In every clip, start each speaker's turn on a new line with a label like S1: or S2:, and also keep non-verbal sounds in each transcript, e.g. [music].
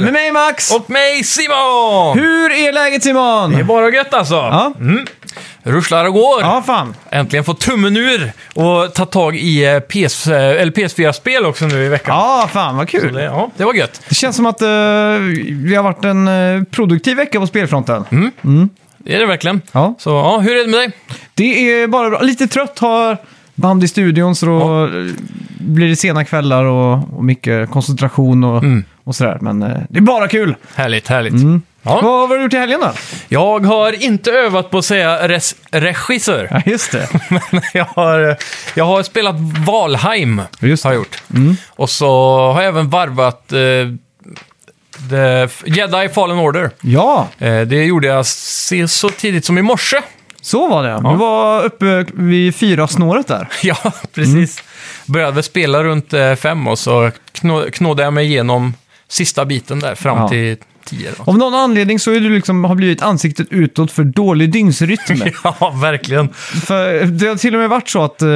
S1: Med mig Max!
S2: Och mig Simon!
S1: Hur är läget Simon?
S2: Det är bara gött alltså.
S1: Ja.
S2: Mm. Ruschlar och går.
S1: Ja, fan.
S2: Äntligen få tummen ur och ta tag i eh, PS, eh, eller PS4-spel också nu i veckan.
S1: Ja, fan vad
S2: Så Det,
S1: kul.
S2: ja, det var gött.
S1: Det känns som att eh, vi har varit en eh, produktiv vecka på spelfronten.
S2: Mm. Det är det verkligen.
S1: Ja.
S2: Så ja, hur är det med dig?
S1: Det är bara bra. Lite trött har band i studion så då eh, blir det sena kvällar och, och mycket koncentration och,
S2: Mm.
S1: och sådär. Men eh, det är bara kul.
S2: Härligt, härligt.
S1: Mm.
S2: Ja.
S1: Vad har du gjort i helgen då?
S2: Jag har inte övat på att säga res- regissör.
S1: Ja, just det.
S2: [laughs] Men jag har, jag har spelat Valheim.
S1: Just det. Mm.
S2: har jag gjort. Och så har jag även varvat eh, The Jedi Fallen Order.
S1: [laughs] Ja,
S2: Eh, det gjorde jag se- så tidigt som i morse. [laughs]
S1: så var det. Du var uppe vid fyra snåret där.
S2: ja, precis.
S1: Mm.
S2: Började väl spela runt eh, fem och så knå, knådde jag mig igenom sista biten där fram
S1: Ja.
S2: till tio. Då. [laughs]
S1: Av någon anledning så är du liksom, har blivit ansiktet utåt för dålig
S2: [laughs]
S1: dygnsrytm.
S2: Ja, verkligen.
S1: För det har till och med varit så att eh,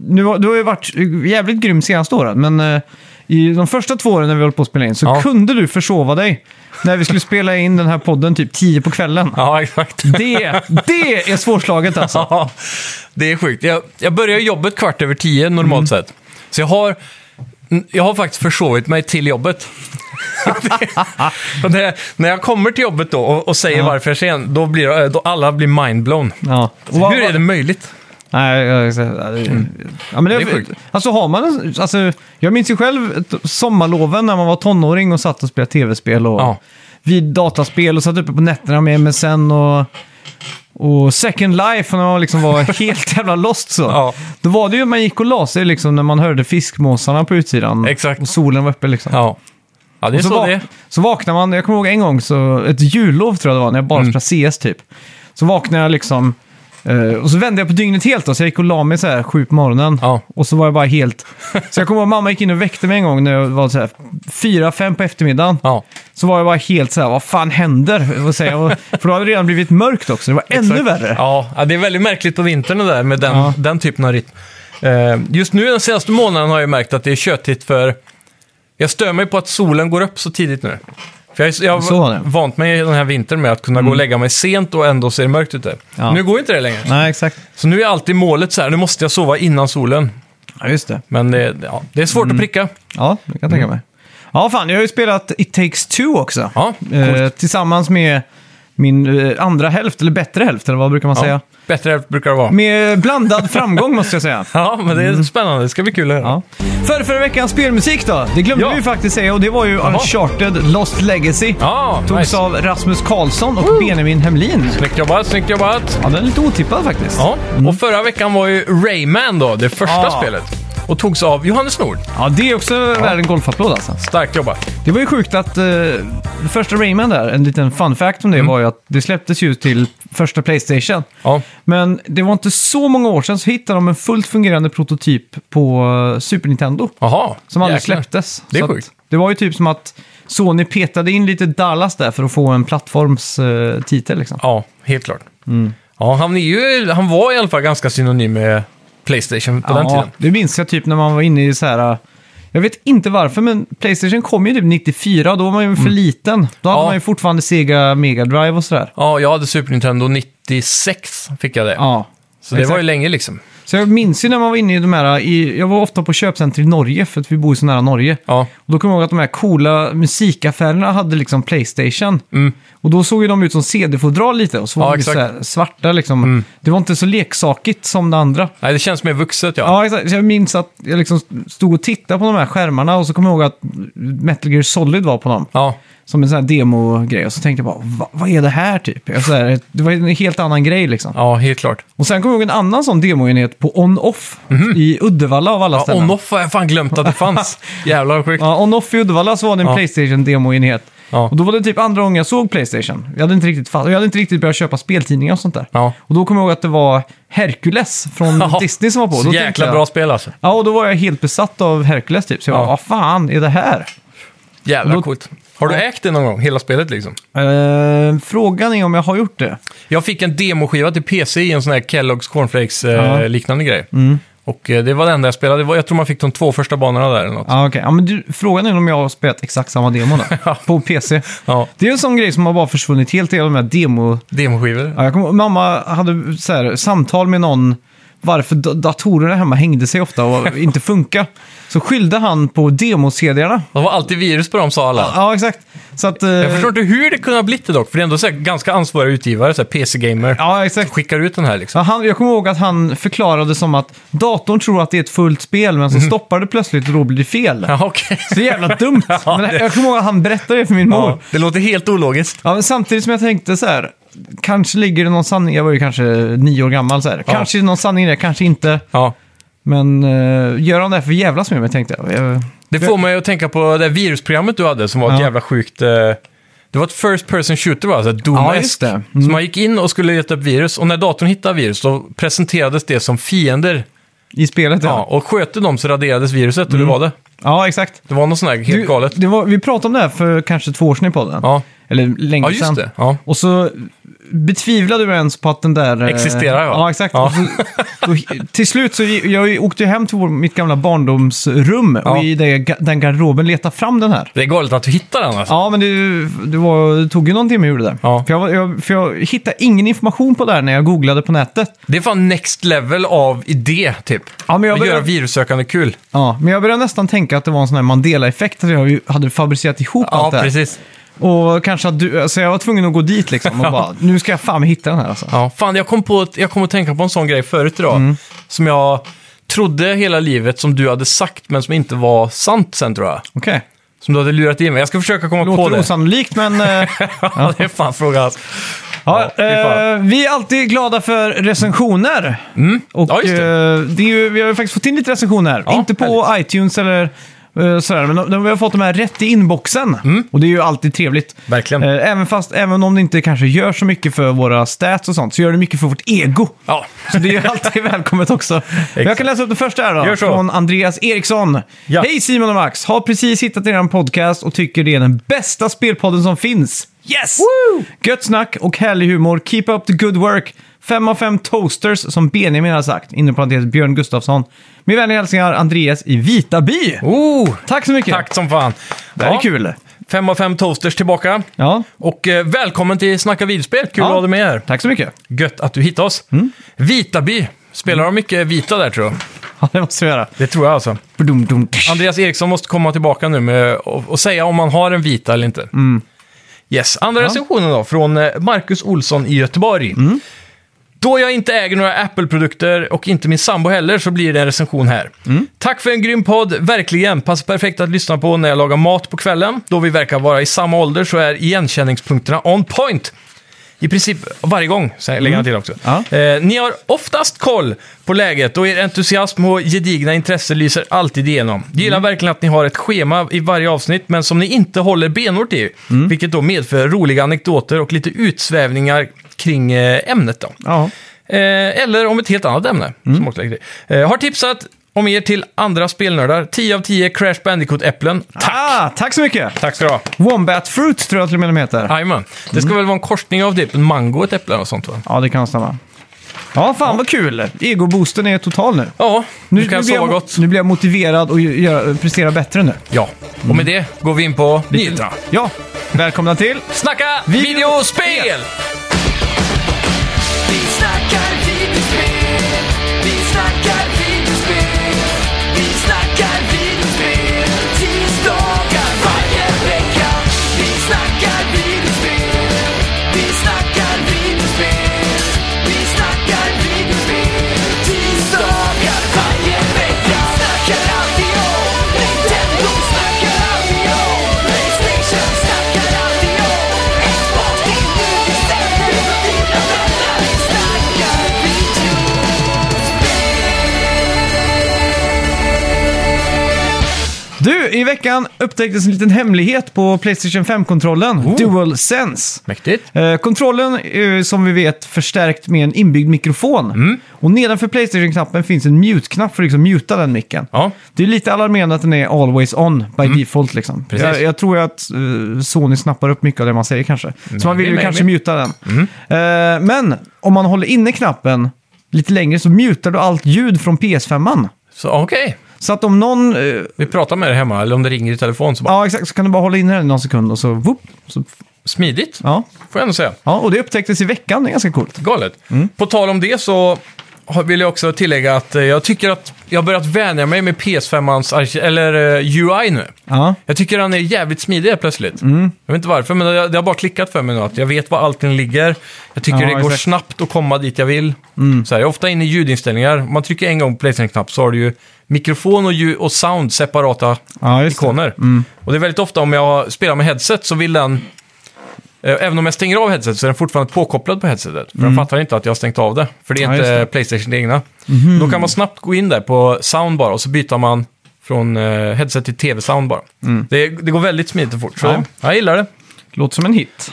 S1: nu har, du har ju varit jävligt grym senaste åren, men eh, i de första två åren när vi höll på att spela in så
S2: Ja.
S1: kunde du försova dig när vi skulle spela in den här podden typ 10 på kvällen.
S2: Ja, exakt.
S1: Det, det är svårslaget alltså.
S2: [laughs] Ja, det är sjukt. Jag, jag börjar jobbet kvart över tio normalt sett. Så jag har, jag har faktiskt försovit mig till jobbet. det, och det, när jag kommer till jobbet då och, och säger varför jag är sen, då blir då alla blir mindblown.
S1: Ja. Och vad-
S2: Hur är det möjligt?
S1: Nej, jag, jag, jag, ja, men det,
S2: Mm. Det är sjukt.
S1: alltså har man en- alltså, Jag minns ju själv ett- sommarloven när man var tonåring och satt och spelade tv-spel och
S2: Ja.
S1: vid dataspel och satt uppe på nätterna med MSN och, och Second Life när man liksom
S2: [laughs]
S1: var helt jävla lost så.
S2: Ja.
S1: Då var det ju man gick och la sig liksom när man hörde fiskmåsarna på utsidan
S2: Exakt.
S1: och solen var uppe liksom.
S2: Ja, ja det är
S1: Och
S2: så,
S1: vak-
S2: det är.
S1: så vaknade man, jag kommer ihåg en gång, så ett jullov tror jag det var, när jag bara
S2: Mm.
S1: spelade CS typ. Så vaknade jag liksom, eh, och så vände jag på dygnet helt då, så jag gick och la mig så här sju på morgonen.
S2: Ja.
S1: Och så var jag bara helt... Så jag kommer ihåg mamma gick in och väckte mig en gång när jag var så här fyra, fem på eftermiddagen.
S2: Ja.
S1: Så var jag bara helt så här, vad fan händer? Och så här, och, för då hade det redan blivit mörkt också, det var ännu
S2: Exakt.
S1: värre.
S2: Ja, ja, det är väldigt märkligt på vintern det där med den,
S1: Ja.
S2: den typen av rytm. Eh, Just nu den senaste månaden har jag märkt att det är tjötigt för jag stör mig på att solen går upp så tidigt nu. För jag, är- jag
S1: Så var
S2: har
S1: det.
S2: vant mig den här vintern med att kunna gå och lägga mig sent och ändå ser det mörkt ute.
S1: Ja.
S2: Nu går inte det längre.
S1: Nej, exakt.
S2: Så nu är alltid målet så här, nu måste jag sova innan solen.
S1: Ja, just det.
S2: Men det, ja, det är svårt
S1: Mm.
S2: att pricka.
S1: Ja, det kan jag
S2: Mm.
S1: tänka mig. Ja, fan, jag har ju spelat It takes two också.
S2: Ja,
S1: Eh, tillsammans med min eh, andra hälft, eller bättre hälft, eller vad brukar man säga?
S2: ja. Bättre hälft brukar det vara.
S1: Med blandad [laughs] framgång måste jag säga.
S2: Ja, men det är spännande. Det ska bli kul att höra.
S1: Mm. Ja. För förra veckans spelmusik då? Det glömde
S2: Ja.
S1: vi ju faktiskt säga och det var ju Uncharted Lost Legacy.
S2: Ja,
S1: Togs
S2: nice.
S1: av Rasmus Karlsson och Benjamin Hemlin.
S2: Snyggt jobbat, snyggt jobbat.
S1: Ja, den är lite otippad faktiskt.
S2: Ja, och förra veckan var ju Rayman då, det första
S1: Mm. Ja.
S2: spelet. Och togs av Johannes Nord.
S1: Ja, det är också värd en golfapplåd alltså.
S2: Starkt jobbat.
S1: Det var ju sjukt att eh, det första Rayman där, en liten fun fact om det var ju att det släpptes ju till första Playstation.
S2: Mm. Ja,
S1: Men det var inte så många år sedan så hittade de en fullt fungerande prototyp på eh, Super Nintendo.
S2: jaha.
S1: Som aldrig
S2: Jäklar.
S1: släpptes.
S2: Det är
S1: Så att
S2: sjukt.
S1: Det var ju typ som att Sony petade in lite Dallas där för att få en plattformstitel. Liksom.
S2: Ja, helt klart.
S1: Mm.
S2: Ja, han, är ju, han var i alla fall ganska synonym med Playstation på den tiden.
S1: det minns jag typ när man var inne i så här... äh, Jag vet inte varför, men Playstation kom ju typ 94 och då var man ju för liten. Då hade
S2: Mm. Ja.
S1: man ju fortfarande Sega Mega Drive och sådär.
S2: Ja, jag hade Super Nintendo 96, fick jag det.
S1: Ja.
S2: så det var
S1: exakt.
S2: ju länge liksom.
S1: Så jag minns ju när man var inne i de här, eh, i, jag var ofta på köpcenter i Norge för att vi bor ju så nära Norge.
S2: Ja,
S1: Och då kommer jag ihåg att de här coola musikaffärerna hade liksom Playstation. Och då såg ju de ut som CD-fodral lite och så var
S2: Mm. Ja,
S1: de ju
S2: exakt. Mm.
S1: så här svarta liksom. Det var inte så leksakigt som det andra.
S2: Nej, det känns mer vuxet ja.
S1: Ja, exakt. Så jag minns att jag liksom stod och tittade på de här skärmarna och så kommer jag ihåg att Metal Gear Solid var på dem.
S2: Ja,
S1: Som en sån här demo-grej. Och så tänkte jag bara, Va, vad är det här typ? Jag så här, det var en helt annan grej liksom.
S2: ja helt klart.
S1: Och sen kommer jag ihåg en annan sån demoenhet på On-Off i Uddevalla av alla
S2: Mhm. Ja,
S1: ställen.
S2: On-Off har jag fan
S1: [laughs]
S2: glömt att det fanns. Jävlar vad sjukt.
S1: Ja, on-off i Uddevalla så var det en
S2: Ja.
S1: Playstation-demoenhet.
S2: Ja.
S1: Och då var det typ andra gången jag såg Playstation. Jag hade inte riktigt, fatt- jag hade inte riktigt börjat köpa speltidningar och sånt där.
S2: Ja.
S1: Och då kom jag ihåg att det var Hercules från
S2: [laughs] Ja.
S1: Mm, Disney som var på.
S2: Så
S1: Då tänkte
S2: jäkla
S1: jag,
S2: bra spel alltså.
S1: Ja, och då var jag helt besatt av Hercules typ. Så jag
S2: Ja.
S1: bara, vad fan är det här?
S2: Jävla
S1: Då-
S2: coolt. Har du ägt det någon gång, hela spelet liksom?
S1: Eh, frågan är om jag har gjort det.
S2: Jag fick en demoskiva till PC i en sån här Kellogg's
S1: Ja. Mm.
S2: Cornflakes-liknande grej. Och eh, det var det enda jag spelade. Det var- Jag tror man fick de två första banorna där eller något.
S1: Ja, okej. ja, men du, frågan är om jag har spelat exakt samma
S2: [laughs]
S1: demo där, på PC.
S2: Ja,
S1: Det är en sån grej som har bara försvunnit helt i de här demo...
S2: demoskivor.
S1: Ja, jag kommer, mamma hade så här, samtal med någon varför da- datorerna hemma hängde sig ofta och [laughs] inte funkar. Så skyllde han på demo-CD-erna.
S2: Det var alltid virus på dem, sa alla.
S1: Ja, exakt. Så att... eh,
S2: Jag förstår inte hur det kunde ha blivit det dock, för det är ändå så här ganska ansvariga utgivare, så här PC-gamer,
S1: Ja, exakt.
S2: skickar ut den här liksom.
S1: Ja, han, jag kommer ihåg att han förklarade som att datorn tror att det är ett fullt spel, men så stoppar det plötsligt och då blir det fel.
S2: Mhm. Ja,
S1: [laughs]
S2: okej.
S1: Så jävla dumt!
S2: [laughs] Ja,
S1: men
S2: det-
S1: jag kommer ihåg att han berättade det för min mor.
S2: Ja, det låter helt ologiskt.
S1: Ja, men samtidigt som jag tänkte så här, kanske ligger det någon sanning, jag var ju kanske nio år gammal så här,
S2: Ja.
S1: kanske är det någon sanning i det, kanske inte.
S2: Ja.
S1: Men eh, gör han det här för att jävlas med mig tänkte jag. jag
S2: Det får mig att tänka på det här virusprogrammet du hade som var ett
S1: Ja.
S2: jävla sjukt... eh, Det var ett first person shooter va? Så här
S1: Ja, just
S2: Doom-eskt.
S1: det. Mm.
S2: Så man gick in och skulle leta upp virus och när datorn hittade virus så presenterades det som fiender.
S1: I spelet
S2: Ja,
S1: ja.
S2: och sköt du dem så raderades viruset och det var det.
S1: Ja, exakt.
S2: Det var något sån här helt
S1: Du,
S2: galet.
S1: Det var, vi pratade om det här för kanske två år sedan i podden.
S2: Ja.
S1: Eller längre
S2: ja, just
S1: sedan.
S2: det. Ja.
S1: Och så betvivlade du ens på att den där... eh,
S2: Existerar, ja.
S1: Ja, exakt.
S2: Ja.
S1: Och så, då,
S2: [laughs]
S1: till slut så jag åkte jag hem till vår, mitt gamla barndomsrum
S2: Ja.
S1: och i det, den garderoben letade fram den här.
S2: Det är galet att du hittar den alltså.
S1: Ja, men det, det, var, det tog ju någon timme att gjorde det.
S2: Ja.
S1: För, jag, var- jag, för jag hittade ingen information på det här när jag googlade på nätet.
S2: Det är fan next level av idé, typ.
S1: Ja, men jag
S2: Att göra
S1: började,
S2: virussökande kul.
S1: ja, men jag började nästan tänka att det var en sån här Mandela-effekt, att jag ju hade fabricerat ihop
S2: Ja,
S1: allt det här.
S2: precis.
S1: Och kanske att du, alltså jag var tvungen att gå dit liksom
S2: [laughs]
S1: och bara, nu ska jag fan hitta den här alltså.
S2: Ja, fan, jag kom, på, ett- jag kom att tänka på en sån grej förut idag.
S1: Mm.
S2: Som jag trodde hela livet som du hade sagt, men som inte var sant sen tror jag.
S1: Okej.
S2: Som du hade lurat i mig. Jag ska försöka komma på
S1: Låter
S2: det.
S1: osannolikt men... eh,
S2: [laughs] ja, det är fan frågan. Alltså.
S1: Ja,
S2: Ja, fy fan. Mm.
S1: eh, vi är alltid glada för recensioner. Och,
S2: Ja, just det.
S1: Eh, det är ju, vi har ju faktiskt fått in lite recensioner.
S2: Ja,
S1: Inte på iTunes eller eh, sådär, men de, de, vi har fått dem här rätt i inboxen. Och det är ju alltid trevligt.
S2: Mm. Verkligen.
S1: Eh, även, fast, även om det inte kanske gör så mycket för våra stats och sånt, så gör det mycket för vårt ego.
S2: Ja.
S1: Så det är
S2: [laughs]
S1: ju alltid välkommet också. Jag kan läsa upp den första här då.
S2: Gör så.
S1: Från Andreas Eriksson.
S2: Ja.
S1: Hej Simon och Max! Har precis hittat er podcast och tycker det är den bästa spelpodden som finns. Yes!
S2: Woo!
S1: Gött snack och härlig humor. Keep up the good work. Fem av fem toasters som Benjamin har sagt. Inom parentes Björn Gustafsson. Med vänliga hälsningar Andreas i Vitaby.
S2: Oh,
S1: Tack så mycket!
S2: tack som fan.
S1: Det här
S2: Ja,
S1: är kul.
S2: Fem av fem toasters tillbaka.
S1: Ja.
S2: Och eh, välkommen till Snacka videospel. Kul
S1: Ja. Mm.
S2: att ha dig med här.
S1: Tack så mycket.
S2: Gött att du hittade oss. Vitaby. Spelar de mycket vita där tror jag?
S1: Ja, det måste vi göra.
S2: Det tror jag alltså.
S1: Dum, dum.
S2: Andreas Eriksson måste komma tillbaka nu med, och, och säga om man har en vita eller inte. Yes. Andra recensionen då, från eh, Marcus Olsson i Göteborg. Då jag inte äger några Apple-produkter och inte min sambo heller så blir det en recension här. Tack för en grym podd, verkligen. Passar perfekt att lyssna på när jag lagar mat på kvällen. Då vi verkar vara i samma ålder så är igenkänningspunkterna on point. I princip varje gång, så här lägger han till också.
S1: Ja.
S2: Eh, ni har oftast koll på läget och er entusiasm och gedigna intresse lyser alltid igenom. Gillar verkligen att ni har ett schema i varje avsnitt, men som ni inte håller benhårt i. Vilket då medför roliga anekdoter och lite utsvävningar kring eh, ämnet då.
S1: Ja.
S2: Eh, eller om ett helt annat ämne. Som också lägger till. eh, har tipsat om er till andra spelnördar. 10 av 10 Crash Bandicoot-äpplen. Tack!
S1: Ah, tack så mycket!
S2: Tack ska du ha.
S1: Wombat Fruit tror jag till och med de heter.
S2: Jajamän. Det ska väl vara en korsning av typ en mango och ett äpple och sånt va?
S1: Ja, det kan stämma. Ja, fan vad kul. Egoboosten är total nu.
S2: Ja, nu kan jag
S1: blir
S2: sova
S1: jag,
S2: gott.
S1: Nu blir jag motiverad och ju- göra, prestera bättre nu.
S2: Ja, och med det går vi in på nyheterna.
S1: Ja, välkomna till...
S2: Snacka videospel!
S3: Vi snackar videospel, vi snackar videospel, vi snackar videospel, tisdagar varje vecka. Vi snackar videospel, vi snackar videospel, vi snackar videospel, tisdagar varje vecka. Snackar alltid om Nintendo, snackar alltid om Playstation, snackar alltid om Xbox, det är nu vi sätter dina vänner. Vi snackar video.
S1: Du, i veckan upptäcktes en liten hemlighet på Playstation 5-kontrollen.
S2: Oh.
S1: Dual Sense.
S2: Mäktigt.
S1: Eh, kontrollen är ju, som vi vet förstärkt med en inbyggd mikrofon.
S2: Mm.
S1: Och nedanför Playstation-knappen finns en mute-knapp för att liksom muta den micken.
S2: Ja.
S1: Det är lite alarmerande att den är always on by default liksom.
S2: Mm. Precis.
S1: Jag, jag tror ju att eh, Sony snappar upp mycket av det man säger kanske. Så man vill ju
S2: maybe.
S1: kanske muta den. Eh, men om man håller inne knappen lite längre så mutar du allt ljud från PS5.
S2: Så okej,
S1: Så att om någon... eh,
S2: vi pratar med dig hemma eller om det ringer i telefon så bara
S1: ja, exakt. Så kan du bara hålla in den i någon sekund och så... Whoop, så
S2: smidigt.
S1: ja.
S2: Får jag ändå säga.
S1: ja, och det upptäcktes i veckan. Det är ganska coolt.
S2: Galet. På tal om det så har- vill jag också tillägga att eh, jag tycker att jag har börjat vänja mig med PS5-ans arki- eller eh, UI nu.
S1: Ja,
S2: Jag tycker den är jävligt smidig helt plötsligt.
S1: Mm.
S2: Jag vet inte varför, men det, det har bara klickat för mig nu att jag vet var allting ligger. Jag tycker
S1: Ja,
S2: det går
S1: exakt. Mm.
S2: snabbt att komma dit jag vill. Så här, jag är ofta inne i ljudinställningar. Om man trycker en gång på Playstation-knapp så har du ju mikrofon och, ljud och sound separata
S1: ja just det. Mm.
S2: ikoner. Och det är väldigt ofta om jag spelar med headset så vill den, eh, även om jag stänger av headset så är den fortfarande påkopplad på headsetet. För den fattar inte att jag har stängt av det, för det är
S1: Mm. Ja,
S2: inte
S1: just det. Mhm.
S2: Playstation egna. Då kan man snabbt gå in där på sound bara och så byter man från eh, headset till tv-sound bara. Det, det går väldigt smidigt och fort, så
S1: Mm. Ja.
S2: jag gillar det.
S1: Låter som en hit.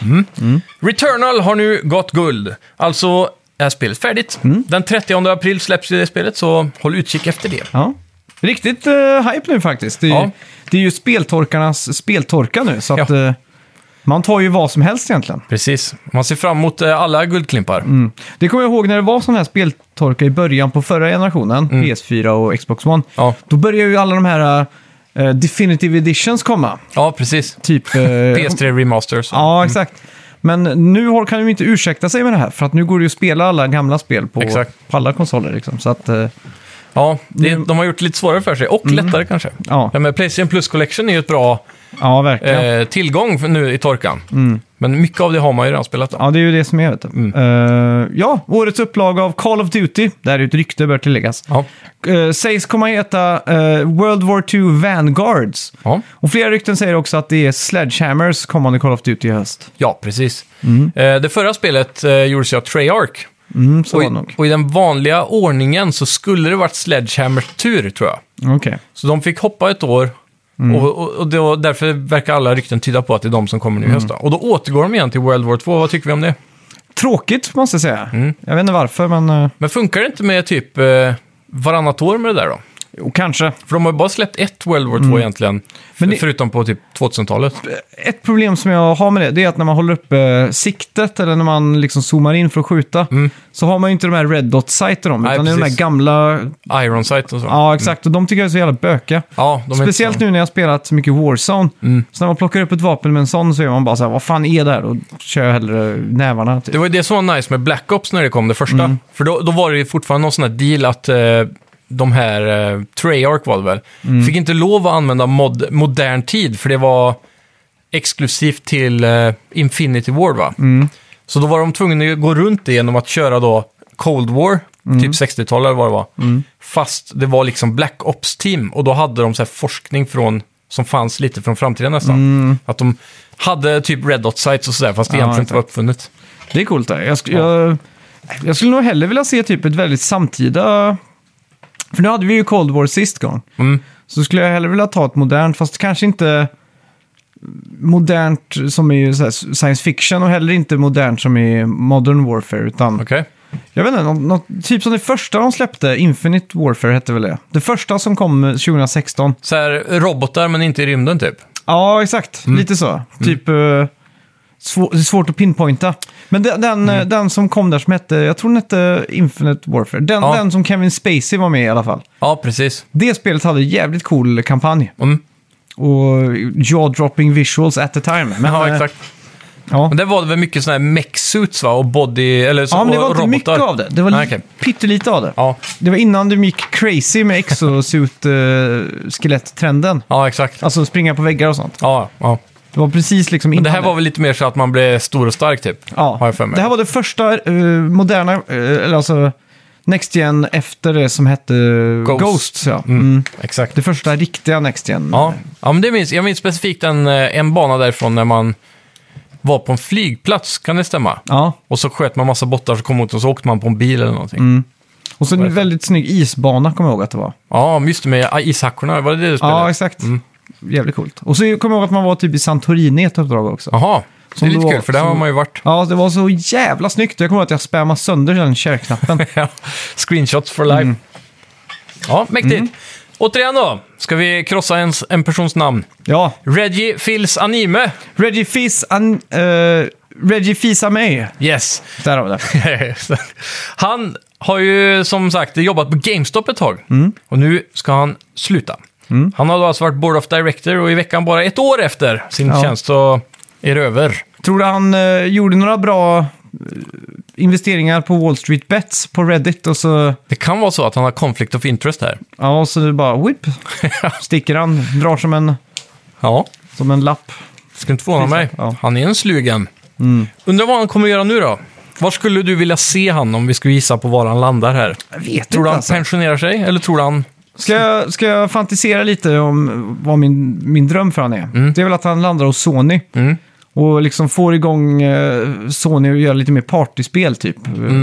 S2: Returnal har nu gått guld, alltså är spelet färdigt.
S1: Mm.
S2: Den 30 april släpps ju det spelet, så håll utkik efter det.
S1: Ja. Riktigt eh, hype nu faktiskt. Det är,
S2: Ja.
S1: det är ju speltorkarnas speltorka nu, så att
S2: Ja.
S1: eh, man tar ju vad som helst egentligen.
S2: Precis, man ser fram emot eh, alla guldklimpar.
S1: Det kommer jag ihåg när det var sån här speltorka i början på förra generationen, PS4 och Xbox One.
S2: Mm. Ja.
S1: Då började ju alla de här eh, Definitive Editions komma.
S2: ja, precis.
S1: Typ... eh,
S2: [laughs] PS3 Remasters.
S1: Ja, exakt. Men nu har, kan de ju inte ursäkta sig med det här, för att nu går det ju att spela alla gamla spel på,
S2: Exakt.
S1: på alla konsoler. Liksom. Så att, eh,
S2: Ja, det, de har gjort det lite svårare för sig och lättare kanske.
S1: Mm. Ja.
S2: Ja, men Playstation Plus Collection är ju ett bra
S1: ja, verkligen.
S2: eh, tillgång för nu i torkan. Men mycket av det har man ju redan spelat. Då.
S1: Ja, det är ju det som är, vet du. Eh, ja, årets upplaga av Call of Duty, det här är ju ett rykte, bör tilläggas,
S2: Ja.
S1: eh, sägs komma heta eh, World War II Vanguards.
S2: Ja.
S1: Och flera rykten säger också att det är Sledgehammers kommande Call of Duty i höst.
S2: ja, precis. Eh, det förra spelet eh, gjordes ju av Treyarch.
S1: Mm, så
S2: Och
S1: var det
S2: i,
S1: nog.
S2: och i den vanliga ordningen så skulle det varit Sledgehammers tur, tror jag.
S1: Okej.
S2: Så de fick hoppa ett år.
S1: Mm.
S2: Och, och, och då, därför verkar alla rykten tyda på att det är de som kommer
S1: Mm.
S2: nu i höst. Då. Och då återgår de igen till World War 2. Vad tycker vi om det?
S1: Tråkigt, måste jag säga. Jag vet inte varför, men... eh,
S2: Men funkar det inte med typ eh, varannat år med det där då?
S1: jo, kanske.
S2: För de har ju bara släppt ett World War 2 egentligen.
S1: Mm. Men det-
S2: Förutom på typ 2000-talet.
S1: ett problem som jag har med det, det är att när man håller upp eh, siktet eller när man liksom zoomar in för att skjuta, så har man ju inte de här red dot-sajterna om,
S2: Nej,
S1: utan det är de här
S2: precis.
S1: gamla...
S2: Iron Sight och så.
S1: Ja, exakt. Och de tycker jag är så jävla böka.
S2: Ja, de är inte Mm.
S1: Speciellt
S2: så-
S1: nu när jag har spelat så mycket Warzone. Så när man plockar upp ett vapen med en sån så är man bara så här, vad fan är det här? Då kör jag hellre nävarna. Typ.
S2: Det var ju det som var nice med Black Ops när det kom, det första. För då, då var det ju fortfarande någon sån här deal att eh, de här, eh, Treyarch var det väl, fick inte lov att använda mod, modern tid för det var exklusivt till eh, Infinity War va? Så då var de tvungna att gå runt det genom att köra då Cold War, typ 60-talet eller vad det var. Fast det var liksom Black Ops-team och då hade de så här forskning från som fanns lite från framtiden nästan. Att de hade typ Red Dot Sites och sådär, fast det
S1: Ja,
S2: egentligen inte var uppfunnet.
S1: Det är coolt. Det. Jag, sk- jag, jag skulle nog hellre vilja se typ ett väldigt samtida... För nu hade vi ju Cold War sist gång.
S2: Mm.
S1: Så skulle jag hellre vilja ta ett modernt, fast kanske inte modernt som är ju så här science fiction och heller inte modernt som är modern warfare. Utan
S2: Okej.
S1: jag vet inte, något, något, typ som det första de släppte, Infinite Warfare hette väl det? Det första som kom eh, 2016.
S2: Så här, robotar men inte i rymden typ.
S1: Ja, exakt.
S2: Mm.
S1: Lite så. Typ... eh, svå- det är svårt att pinpointa. Men den, den,
S2: Mm.
S1: eh, den som kom där som hette, jag tror den hette Infinite Warfare. Den,
S2: Ja.
S1: den som Kevin Spacey var med i i alla fall.
S2: Ja, precis.
S1: Det spelet hade jävligt cool kampanj.
S2: Mm.
S1: Och jaw-dropping visuals at the time. Men,
S2: ja,
S1: eh,
S2: exakt.
S1: Ja.
S2: Men det var det väl mycket sådana här mech-suits va? Och body... Eller så,
S1: ja, men det
S2: och
S1: var inte
S2: robotar.
S1: mycket av det. Det var
S2: Nej,
S1: li-
S2: okej.
S1: pyttelite av det.
S2: Ja.
S1: Det var innan du gick crazy med [laughs] exosuit-skelett-trenden.
S2: ja, exakt.
S1: eh, Alltså springa på väggar och sånt.
S2: Ja, ja.
S1: Det var precis liksom
S2: Men
S1: innan
S2: det här var väl lite mer så att man blev stor och stark typ?
S1: Ja,
S2: Har jag för mig.
S1: det här var det första eh, moderna, eh, eller alltså Next Gen efter det som hette
S2: Ghost.
S1: Ghost. ja. mm.
S2: Exakt.
S1: Det första riktiga Next Gen.
S2: Ja, ja men det minns, jag minns specifikt en, eh, en bana därifrån när man var på en flygplats, kan det stämma?
S1: Ja.
S2: Och så sköt man massa bottar som kom mot och så åkte man på en bil eller någonting.
S1: Mm. Och så en väldigt snygg isbana kommer jag ihåg att det var.
S2: Ja, men just det med ishackorna, var det det du spelade?
S1: Ja, exakt.
S2: Mm.
S1: Jävligt coolt. Och så kommer jag ihåg att man var typ i Santorini i ett uppdrag också. Ja.
S2: Jaha, det
S1: Som
S2: är lite
S1: det var-
S2: kul för där har
S1: som-
S2: man ju varit.
S1: det var så jävla snyggt. Jag kommer ihåg att jag spammade sönder den share-knappen.
S2: [laughs] Ja, Screenshots for life. Ja, mäktigt. Återigen då, ska vi krossa en, en persons namn.
S1: ja,
S2: Reggie Fils Anime.
S1: Reggie Fils, an, eh, Reggie Fils Amey.
S2: Yes.
S1: Där har vi det.
S2: [laughs] han har ju som sagt jobbat på GameStop ett tag. Och nu ska han sluta. Han har då alltså varit Board of Director och i veckan bara ett år efter sin
S1: Ja.
S2: tjänst så är det över.
S1: Tror du han eh, gjorde några bra eh, investeringar på Wall Street Bets på Reddit och så,
S2: Det kan vara så att han har conflict of interest här.
S1: ja, och så bara
S2: [laughs]
S1: whip, sticker han, drar som en,
S2: Ja,
S1: som en lapp.
S2: skulle inte förvåna mig.
S1: Ja. Mm.
S2: Han är en slugen. Undrar vad han kommer göra nu då? Var skulle du vilja se han om vi skulle gissa på var han landar här?
S1: Jag vet
S2: Tror
S1: inte
S2: du han
S1: alltså.
S2: pensionerar sig eller tror du han...
S1: Ska jag, ska jag fantisera lite om vad min, min dröm för han är? Det är väl att han landar hos Sony.
S2: Mm.
S1: Och liksom får igång eh, Sony och gör lite mer partyspel typ.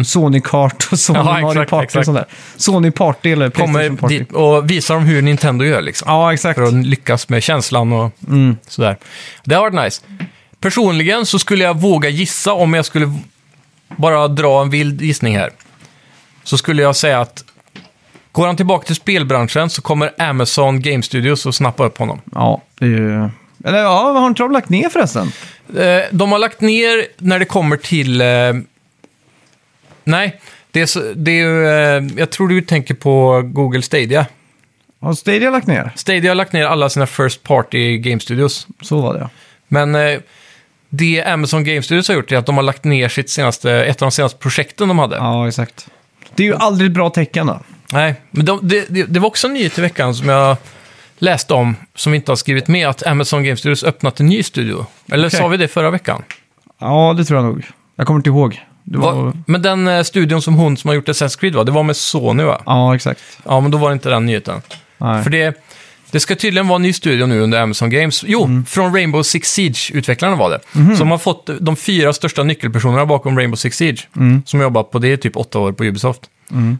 S1: Sony Kart och Sony
S2: Mm. Ja,
S1: Mario
S2: exakt,
S1: Party
S2: exakt.
S1: och sånt där. Sony Party eller Playstation
S2: Kommer
S1: Party.
S2: dit och visar dem hur Nintendo gör liksom.
S1: Ja, exakt.
S2: För att lyckas med känslan och
S1: Mm.
S2: sådär. Det har varit nice. Personligen så skulle jag våga gissa om jag skulle bara dra en vild gissning här. Så skulle jag säga att går han tillbaka till spelbranschen så kommer Amazon Game Studios att snappa upp honom.
S1: Ja, det är ju... Eller ja, har inte de lagt ner förresten?
S2: Eh, De har lagt ner när det kommer till... eh, Nej, det är, så- det är ju, eh, Jag tror du tänker på Google Stadia.
S1: Har Stadia lagt ner?
S2: Stadia har lagt ner alla sina First Party Game Studios.
S1: Så var det ja.
S2: Men eh, det Amazon Game Studios har gjort är att de har lagt ner sitt senaste, ett av de senaste projekten de hade.
S1: Ja, exakt. Det är ju aldrig ett bra tecken då.
S2: Nej, men de, det, det, det var också en nyhet i veckan som jag läste om, som vi inte har skrivit med, att Amazon Game Studios öppnat en ny studio. Eller
S1: Okej.
S2: sa vi det förra veckan?
S1: Ja, det tror jag nog. Jag kommer inte ihåg. Det var...
S2: Va? Men den eh, studion som hon som har gjort Assassin's Creed var, det var med Sony va?
S1: Ja, exakt.
S2: Ja, men då var det inte den nyheten.
S1: Nej.
S2: För det, det ska tydligen vara en ny studio nu under Amazon Games. Jo,
S1: Mm.
S2: från Rainbow Six Siege-utvecklarna var det.
S1: Mhm.
S2: Så de har fått de fyra största nyckelpersonerna bakom Rainbow Six Siege,
S1: Mm.
S2: som jobbar på det i typ åtta år på Ubisoft.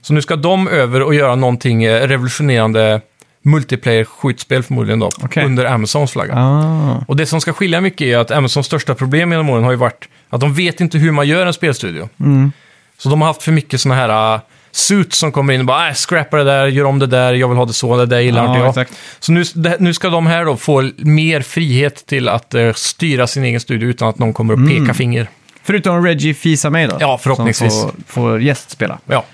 S2: Så nu ska de över och göra någonting eh, revolutionerande multiplayer-skjutspel förmodligen då,
S1: Okej.
S2: under Amazons flagga.
S1: Ah.
S2: Och det som ska skilja mycket är att Amazons största problem genom åren har ju varit att de vet inte hur man gör en spelstudio.
S1: Mm.
S2: Så de har haft för mycket sådana här uh, suits som kommer in och bara äh, scrappa det där, gör om det där, jag vill ha det så, det där gillar
S1: Ja,
S2: inte jag.
S1: exakt.
S2: Så nu, det- nu ska de här då få mer frihet till att eh, styra sin egen studio utan att någon kommer och peka
S1: Mm.
S2: finger.
S1: Förutom Reggie fils mig då.
S2: Ja, förhoppningsvis.
S1: Som får, får gästspela.
S2: Ja,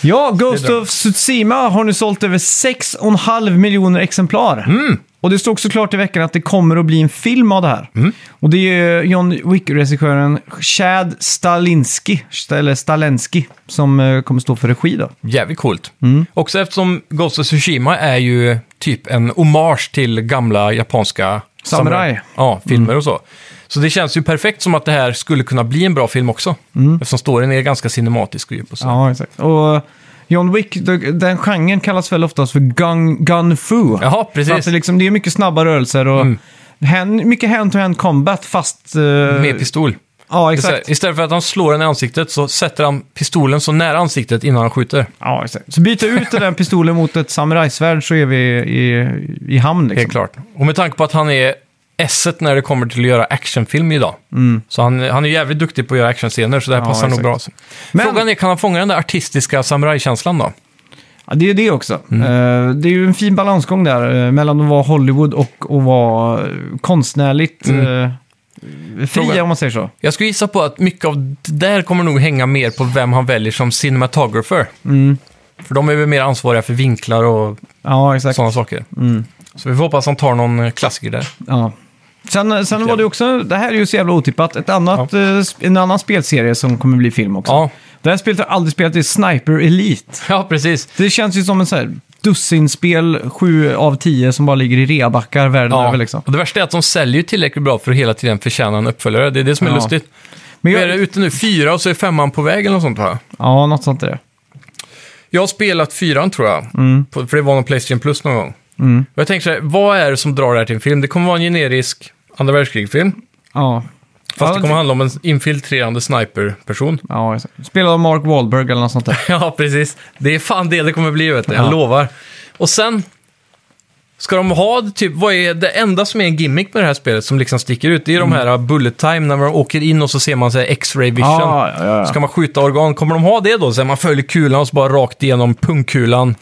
S1: Ja, Ghost
S2: Det är bra.
S1: of Tsushima har nu sålt över 6,5 miljoner exemplar.
S2: Mm.
S1: Och det stod såklart i veckan att det kommer att bli en film av det här.
S2: Mm.
S1: Och det är John Wick-regissören Chad Stalinski, eller Stalensky, som eh, kommer stå för regi då.
S2: jävligt coolt.
S1: Mm.
S2: Också eftersom Ghost of Tsushima är ju typ en hommage till gamla japanska
S1: Samurai. Mm.
S2: Ja, filmer och så. Så det känns ju perfekt som att det här skulle kunna bli en bra film också. Eftersom storyn är ganska cinematisk och djup och så.
S1: Mm. Ja, exakt. Och John Wick, de- den genren kallas väl oftast för gun, gun fu.
S2: Jaha,
S1: För att
S2: precis. Mm.
S1: det, liksom, det är mycket snabba rörelser och hand, mycket hand-to-hand combat fast... eh,
S2: Med pistol.
S1: ja,
S2: Det är så här,
S1: exakt.
S2: Istället för att han slår en i ansiktet så sätter han pistolen så nära ansiktet innan han skjuter.
S1: Ja, exakt. Så byta ut den där pistolen mot ett samurajsvärd så är vi i, i hamn. Liksom.
S2: Helt klart. Och med tanke på att han är esset när det kommer till att göra actionfilm idag. Så han, han är jävligt duktig på att göra actionscener, så det här
S1: Mm. Ja,
S2: passar nog
S1: exakt.
S2: bra.
S1: Men-
S2: Frågan är, kan han fånga den där artistiska samurajkänslan då?
S1: Ja, det är det också.
S2: Mm.
S1: Eh, det är ju en fin balansgång där eh, mellan att vara Hollywood och att vara eh, konstnärligt eh, fria,
S2: Mm. Fråga.
S1: om man säger så.
S2: Jag skulle gissa på att mycket av det där kommer nog hänga mer på vem han väljer som cinematographer.
S1: Mm.
S2: För de är väl mer ansvariga för vinklar och
S1: Ja, exakt.
S2: sådana saker.
S1: Mm.
S2: Så vi får hoppas han tar någon eh, klassiker där.
S1: Ja. Sen, sen var det också, det här är ju så jävla otippat, ett annat, eh, sp- en annan spelserie som kommer bli film också.
S2: Ja,
S1: Det här spelet har jag aldrig spelat, det är Sniper Elite.
S2: ja precis.
S1: Det känns ju som en så här dussinspel, 7 av 10, som bara ligger i reabackar världen
S2: Ja.
S1: över liksom.
S2: Och det värsta är att de säljer ju tillräckligt bra för att hela tiden förtjäna en uppföljare. Det är det som är
S1: Ja.
S2: lustigt.
S1: Men
S2: Är det
S1: jag,
S2: ute nu fyra och så är femman på väg eller något sånt va?
S1: ja, något sånt är det.
S2: Jag har spelat fyran tror jag,
S1: Mm.
S2: på, för det var någon Playstation Plus någon gång. Och jag tänker så här, vad är det som drar det här till en film? Det kommer vara en generisk andra världskrigsfilm.
S1: Ja.
S2: Fast
S1: Ja,
S2: det kommer handla om en infiltrerande sniperperson.
S1: Ja, exakt. Spelad av Mark Wahlberg eller något sånt där.
S2: [laughs] Ja, precis. Det är fan det det kommer bli, vet du. Jag
S1: Ja.
S2: lovar. Och sen ska de ha, typ, vad är det enda som är en gimmick med det här spelet som liksom sticker ut? Det är de
S1: Mm.
S2: här uh, bullet time, när man åker in och så ser man så här X-ray vision.
S1: Ja, ja, ja.
S2: Ska man skjuta organ? Kommer de ha det då? Så här, man följer kulan och så bara rakt
S1: [laughs]
S2: igenom pungkulan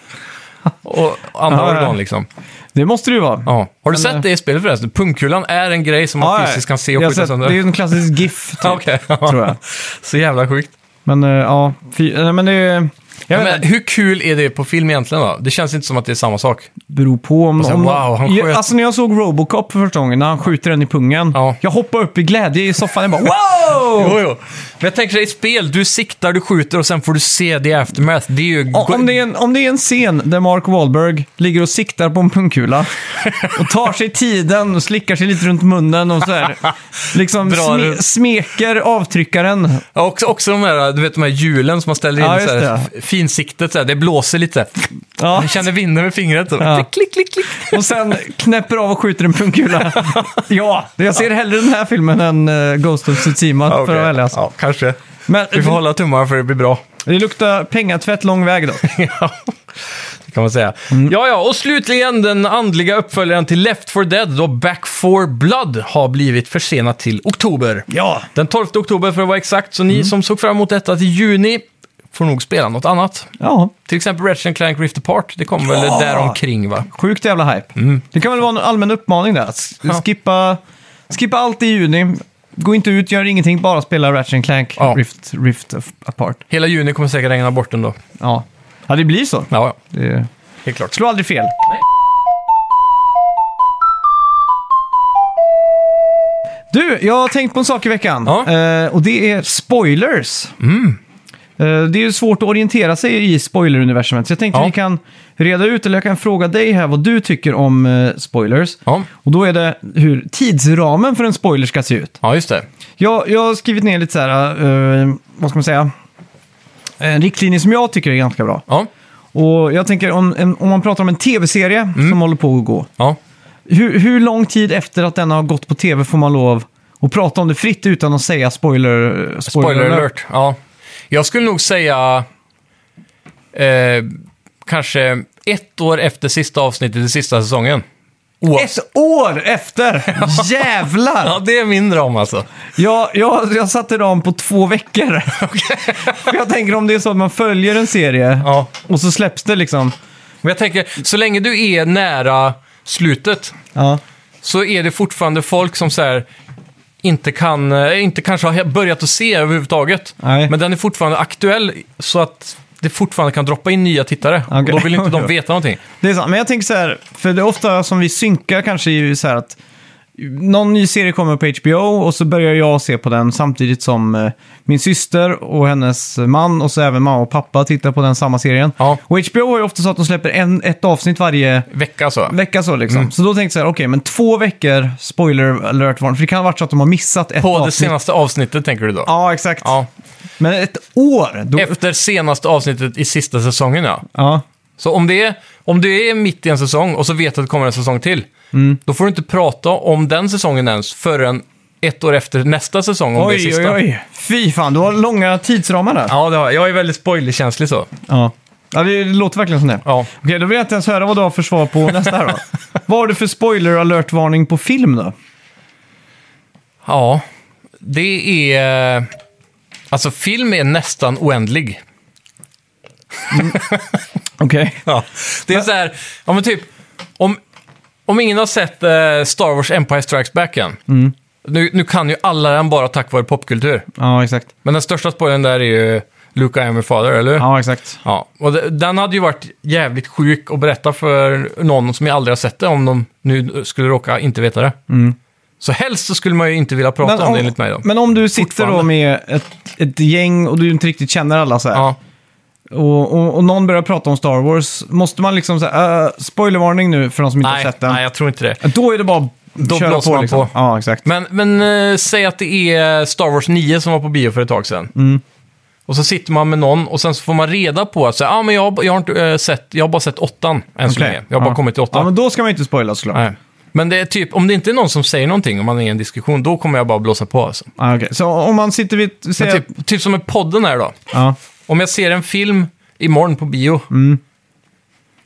S2: och andra
S1: Ja, ja.
S2: organ liksom.
S1: Det måste det ju vara.
S2: Ja. Har du
S1: Men, eh,
S2: sett det i spelet förresten? Pungkulan är en grej som man
S1: Ja,
S2: fysiskt kan se och [laughs]
S1: jag har
S2: skjuta
S1: sett-
S2: sönder.
S1: Det är ju en klassisk GIF, typ,
S2: Okej.
S1: tror jag.
S2: [laughs] så jävla sjukt.
S1: Men eh, ja, fy, nej, men det... Jag
S2: Ja,
S1: vet
S2: men,
S1: inte,
S2: hur kul är det på film egentligen då? Det känns inte som att det är samma sak.
S1: beror på om...
S2: så,
S1: om
S2: wow, han
S1: Ja,
S2: sköt.
S1: Alltså när jag såg Robocop för första gången, när han skjuter den i pungen.
S2: Ja.
S1: Jag hoppade upp i glädje i soffan och bara wow!
S2: jo. Men jag tänker dig i spel, du siktar, du skjuter och sen får du se det i aftermath. Det är ju...
S1: Om- Om det, är en, om det är en scen där Mark Wahlberg ligger och siktar på en pungkula och tar sig tiden och slickar sig lite runt munnen och så här, liksom
S2: Bra,
S1: sme,
S2: du.
S1: smeker avtryckaren.
S2: Ja, också, också de här, du vet de här hjulen som man ställer in,
S1: Ja,
S2: så
S1: just
S2: här,
S1: det.
S2: f- finsiktet, så här, det blåser lite.
S1: Ja.
S2: Man känner vinden med fingret. Så.
S1: Ja.
S2: Klick, klick, klick, klick.
S1: Och sen knäpper av och skjuter en pungkula. Ja, jag ser hellre den här filmen än eh, Ghost of Tsushima för att välja. alltså.
S2: Ja, kanske.
S1: Men
S2: Vi får hålla tummarna för att det blir bra.
S1: det luktar pengatvätt lång väg då.
S2: [laughs] Ja, det kan man säga. Ja, ja, och slutligen den andliga uppföljaren till Left 4 Dead, då Back 4 Blood, har blivit försenat till oktober.
S1: Ja,
S2: Den 12 oktober för att vara exakt, så ni som såg fram emot detta till juni får nog spela något annat.
S1: ja.
S2: Till exempel Ratchet Clank Rift Apart, det kommer väl
S1: Ja.
S2: däromkring va?
S1: Sjukt jävla hype. Det kan väl vara en allmän uppmaning där. att s-
S2: Mm. Ja.
S1: Skippa, skippa allt i juni. Gå inte ut, gör ingenting, bara spela Ratchet Clank
S2: Ja.
S1: Rift, Rift of- Apart.
S2: Hela juni kommer säkert regna bort den då.
S1: Ja. ja, det blir så.
S2: Ja, ja,
S1: Det
S2: helt klart.
S1: slår aldrig fel. Du, jag har tänkt på en sak i veckan.
S2: Ja. Mm.
S1: Eh, och det är spoilers. Eh, det är ju svårt att orientera sig i spoileruniversumet. Så jag tänkte
S2: Ja.
S1: vi kan reda ut, eller jag kan fråga dig här vad du tycker om eh, spoilers.
S2: Ja.
S1: Och då är det hur tidsramen för en spoiler ska se ut.
S2: ja, just det.
S1: Jag, jag har skrivit ner lite så här, eh, vad ska man säga, en riktlinje som jag tycker är ganska bra.
S2: Ja,
S1: Och jag tänker om, en- om man pratar om en tv-serie
S2: Mm.
S1: som håller på att gå.
S2: ja.
S1: Hur, hur lång tid efter att den har gått på tv får man lov att prata om det fritt utan att säga spoiler, spoiler,
S2: Spoiler alert. Ja. Jag skulle nog säga eh, kanske ett år efter sista avsnittet i sista säsongen. Oav-
S1: Ett år efter!
S2: Ja,
S1: Jävlar!
S2: det är min ram alltså.
S1: Jag, jag, jag satte ram på två
S2: [laughs]
S1: veckor. För jag tänker om det är så att man följer en serie
S2: Ja.
S1: och så släpps det liksom.
S2: Men jag tänker, så länge du är nära slutet
S1: Ja.
S2: så är det fortfarande folk som så här inte kan, eh, inte kanske har börjat att se överhuvudtaget.
S1: Nej.
S2: Men den är fortfarande aktuell så att det fortfarande kan droppa in nya tittare. Och
S1: Okej.
S2: då vill
S1: [laughs]
S2: inte de veta någonting.
S1: Det är sant, men jag tänker så här, för det är ofta som vi synkar kanske är ju så här att någon ny serie kommer på HBO och så börjar jag se på den samtidigt som eh, min syster och hennes man och så även mamma och pappa tittar på den samma serien.
S2: Ja.
S1: Och HBO har ju ofta så att de släpper en, ett avsnitt varje
S2: Vecka alltså. så.
S1: vecka så liksom. Så då tänkte jag så här, okej, men två veckor spoiler alert varning, för det kan ha varit så att de har missat ett
S2: På det
S1: avsnitt.
S2: senaste avsnittet tänker du då?
S1: Ja, exakt.
S2: ja.
S1: Men ett år? Då...
S2: Efter senaste avsnittet i sista säsongen, ja.
S1: Ja.
S2: Så om det, är, om det är mitt i en säsong och så vet att det kommer en säsong till,
S1: Mm.
S2: då får du inte prata om den säsongen ens förrän ett år efter nästa säsong, om det
S1: Oj,
S2: är
S1: oj,
S2: sista.
S1: oj. Fy fan, du har långa tidsramar där.
S2: Ja, det har jag. Jag är väldigt spoilerkänslig så.
S1: Ja. Ja, det låter verkligen som det.
S2: Ja.
S1: Okej, då vill jag inte ens höra vad du har för svar
S2: [laughs]
S1: på nästa här då. vad har du för spoiler alert-varning på film då?
S2: Ja, det är... Alltså, film är nästan oändlig.
S1: Okej.
S2: Ja. Det är så här, ja men typ, om, om ingen har sett eh, Star Wars Empire Strikes Back än,
S1: Mm.
S2: nu, nu kan ju alla den bara tack vare popkultur.
S1: Ja, exakt.
S2: Men den största spoilern där är ju Luke I am your father, eller hur?
S1: Ja, exakt.
S2: Ja, och de- den hade ju varit jävligt sjuk att berätta för någon som jag aldrig har sett det, om de nu skulle råka inte veta det. Så helst så skulle man ju inte vilja prata om det enligt mig då.
S1: Mm. men om du sitter då
S2: Fortfarande.
S1: med ett, ett gäng och du inte riktigt känner alla så här.
S2: Ja,
S1: Och, och, och någon börjar prata om Star Wars. Måste man liksom säga uh, spoilervarning nu för de som inte
S2: nej,
S1: har sett den?
S2: nej, jag tror inte det.
S1: Då är det bara
S2: Då
S1: att köra
S2: blåser
S1: på
S2: man
S1: liksom.
S2: på.
S1: Ja, exakt.
S2: Men, men eh, säg att det är Star Wars 9 som var på bio för ett tag sedan.
S1: Mm.
S2: Och så sitter man med någon och sen så får man reda på att så, här, ah, men jag, har- jag, har inte, eh, sett, jag har bara sett åttan än så
S1: Okej.
S2: länge. Jag har bara
S1: ja.
S2: kommit till åttan.
S1: Ja, men då ska man ju inte spoila såklart.
S2: Nej. Men det är typ, om det inte är någon som säger någonting, om man är i en diskussion, då kommer jag bara blåsa på. Alltså.
S1: Ja, okej. Så om man sitter vid... ett-
S2: Men
S1: säg-
S2: typ, typ som med podden här då.
S1: ja.
S2: Om jag ser en film imorgon på bio,
S1: Mm.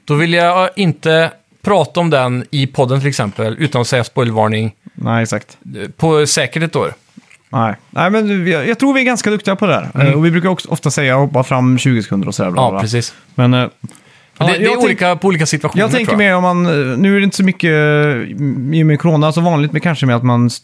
S2: då vill jag eh, inte prata om den i podden till exempel, utan att säga spoilvarning
S1: Nej, exakt.
S2: eh, på säkert ett år.
S1: Nej, Nej men vi- jag tror vi är ganska duktiga på det där. Eh, Och vi brukar också ofta säga hoppa fram 20 sekunder och sådär. bla, bla,
S2: Mm. Ja,
S1: bla.
S2: precis.
S1: Men eh,
S2: det, det är
S1: jag tänk-
S2: olika på olika situationer
S1: Jag tänker
S2: tror jag.
S1: mer om man, nu är det inte så mycket eh, i och med corona så vanligt, men kanske med att man s-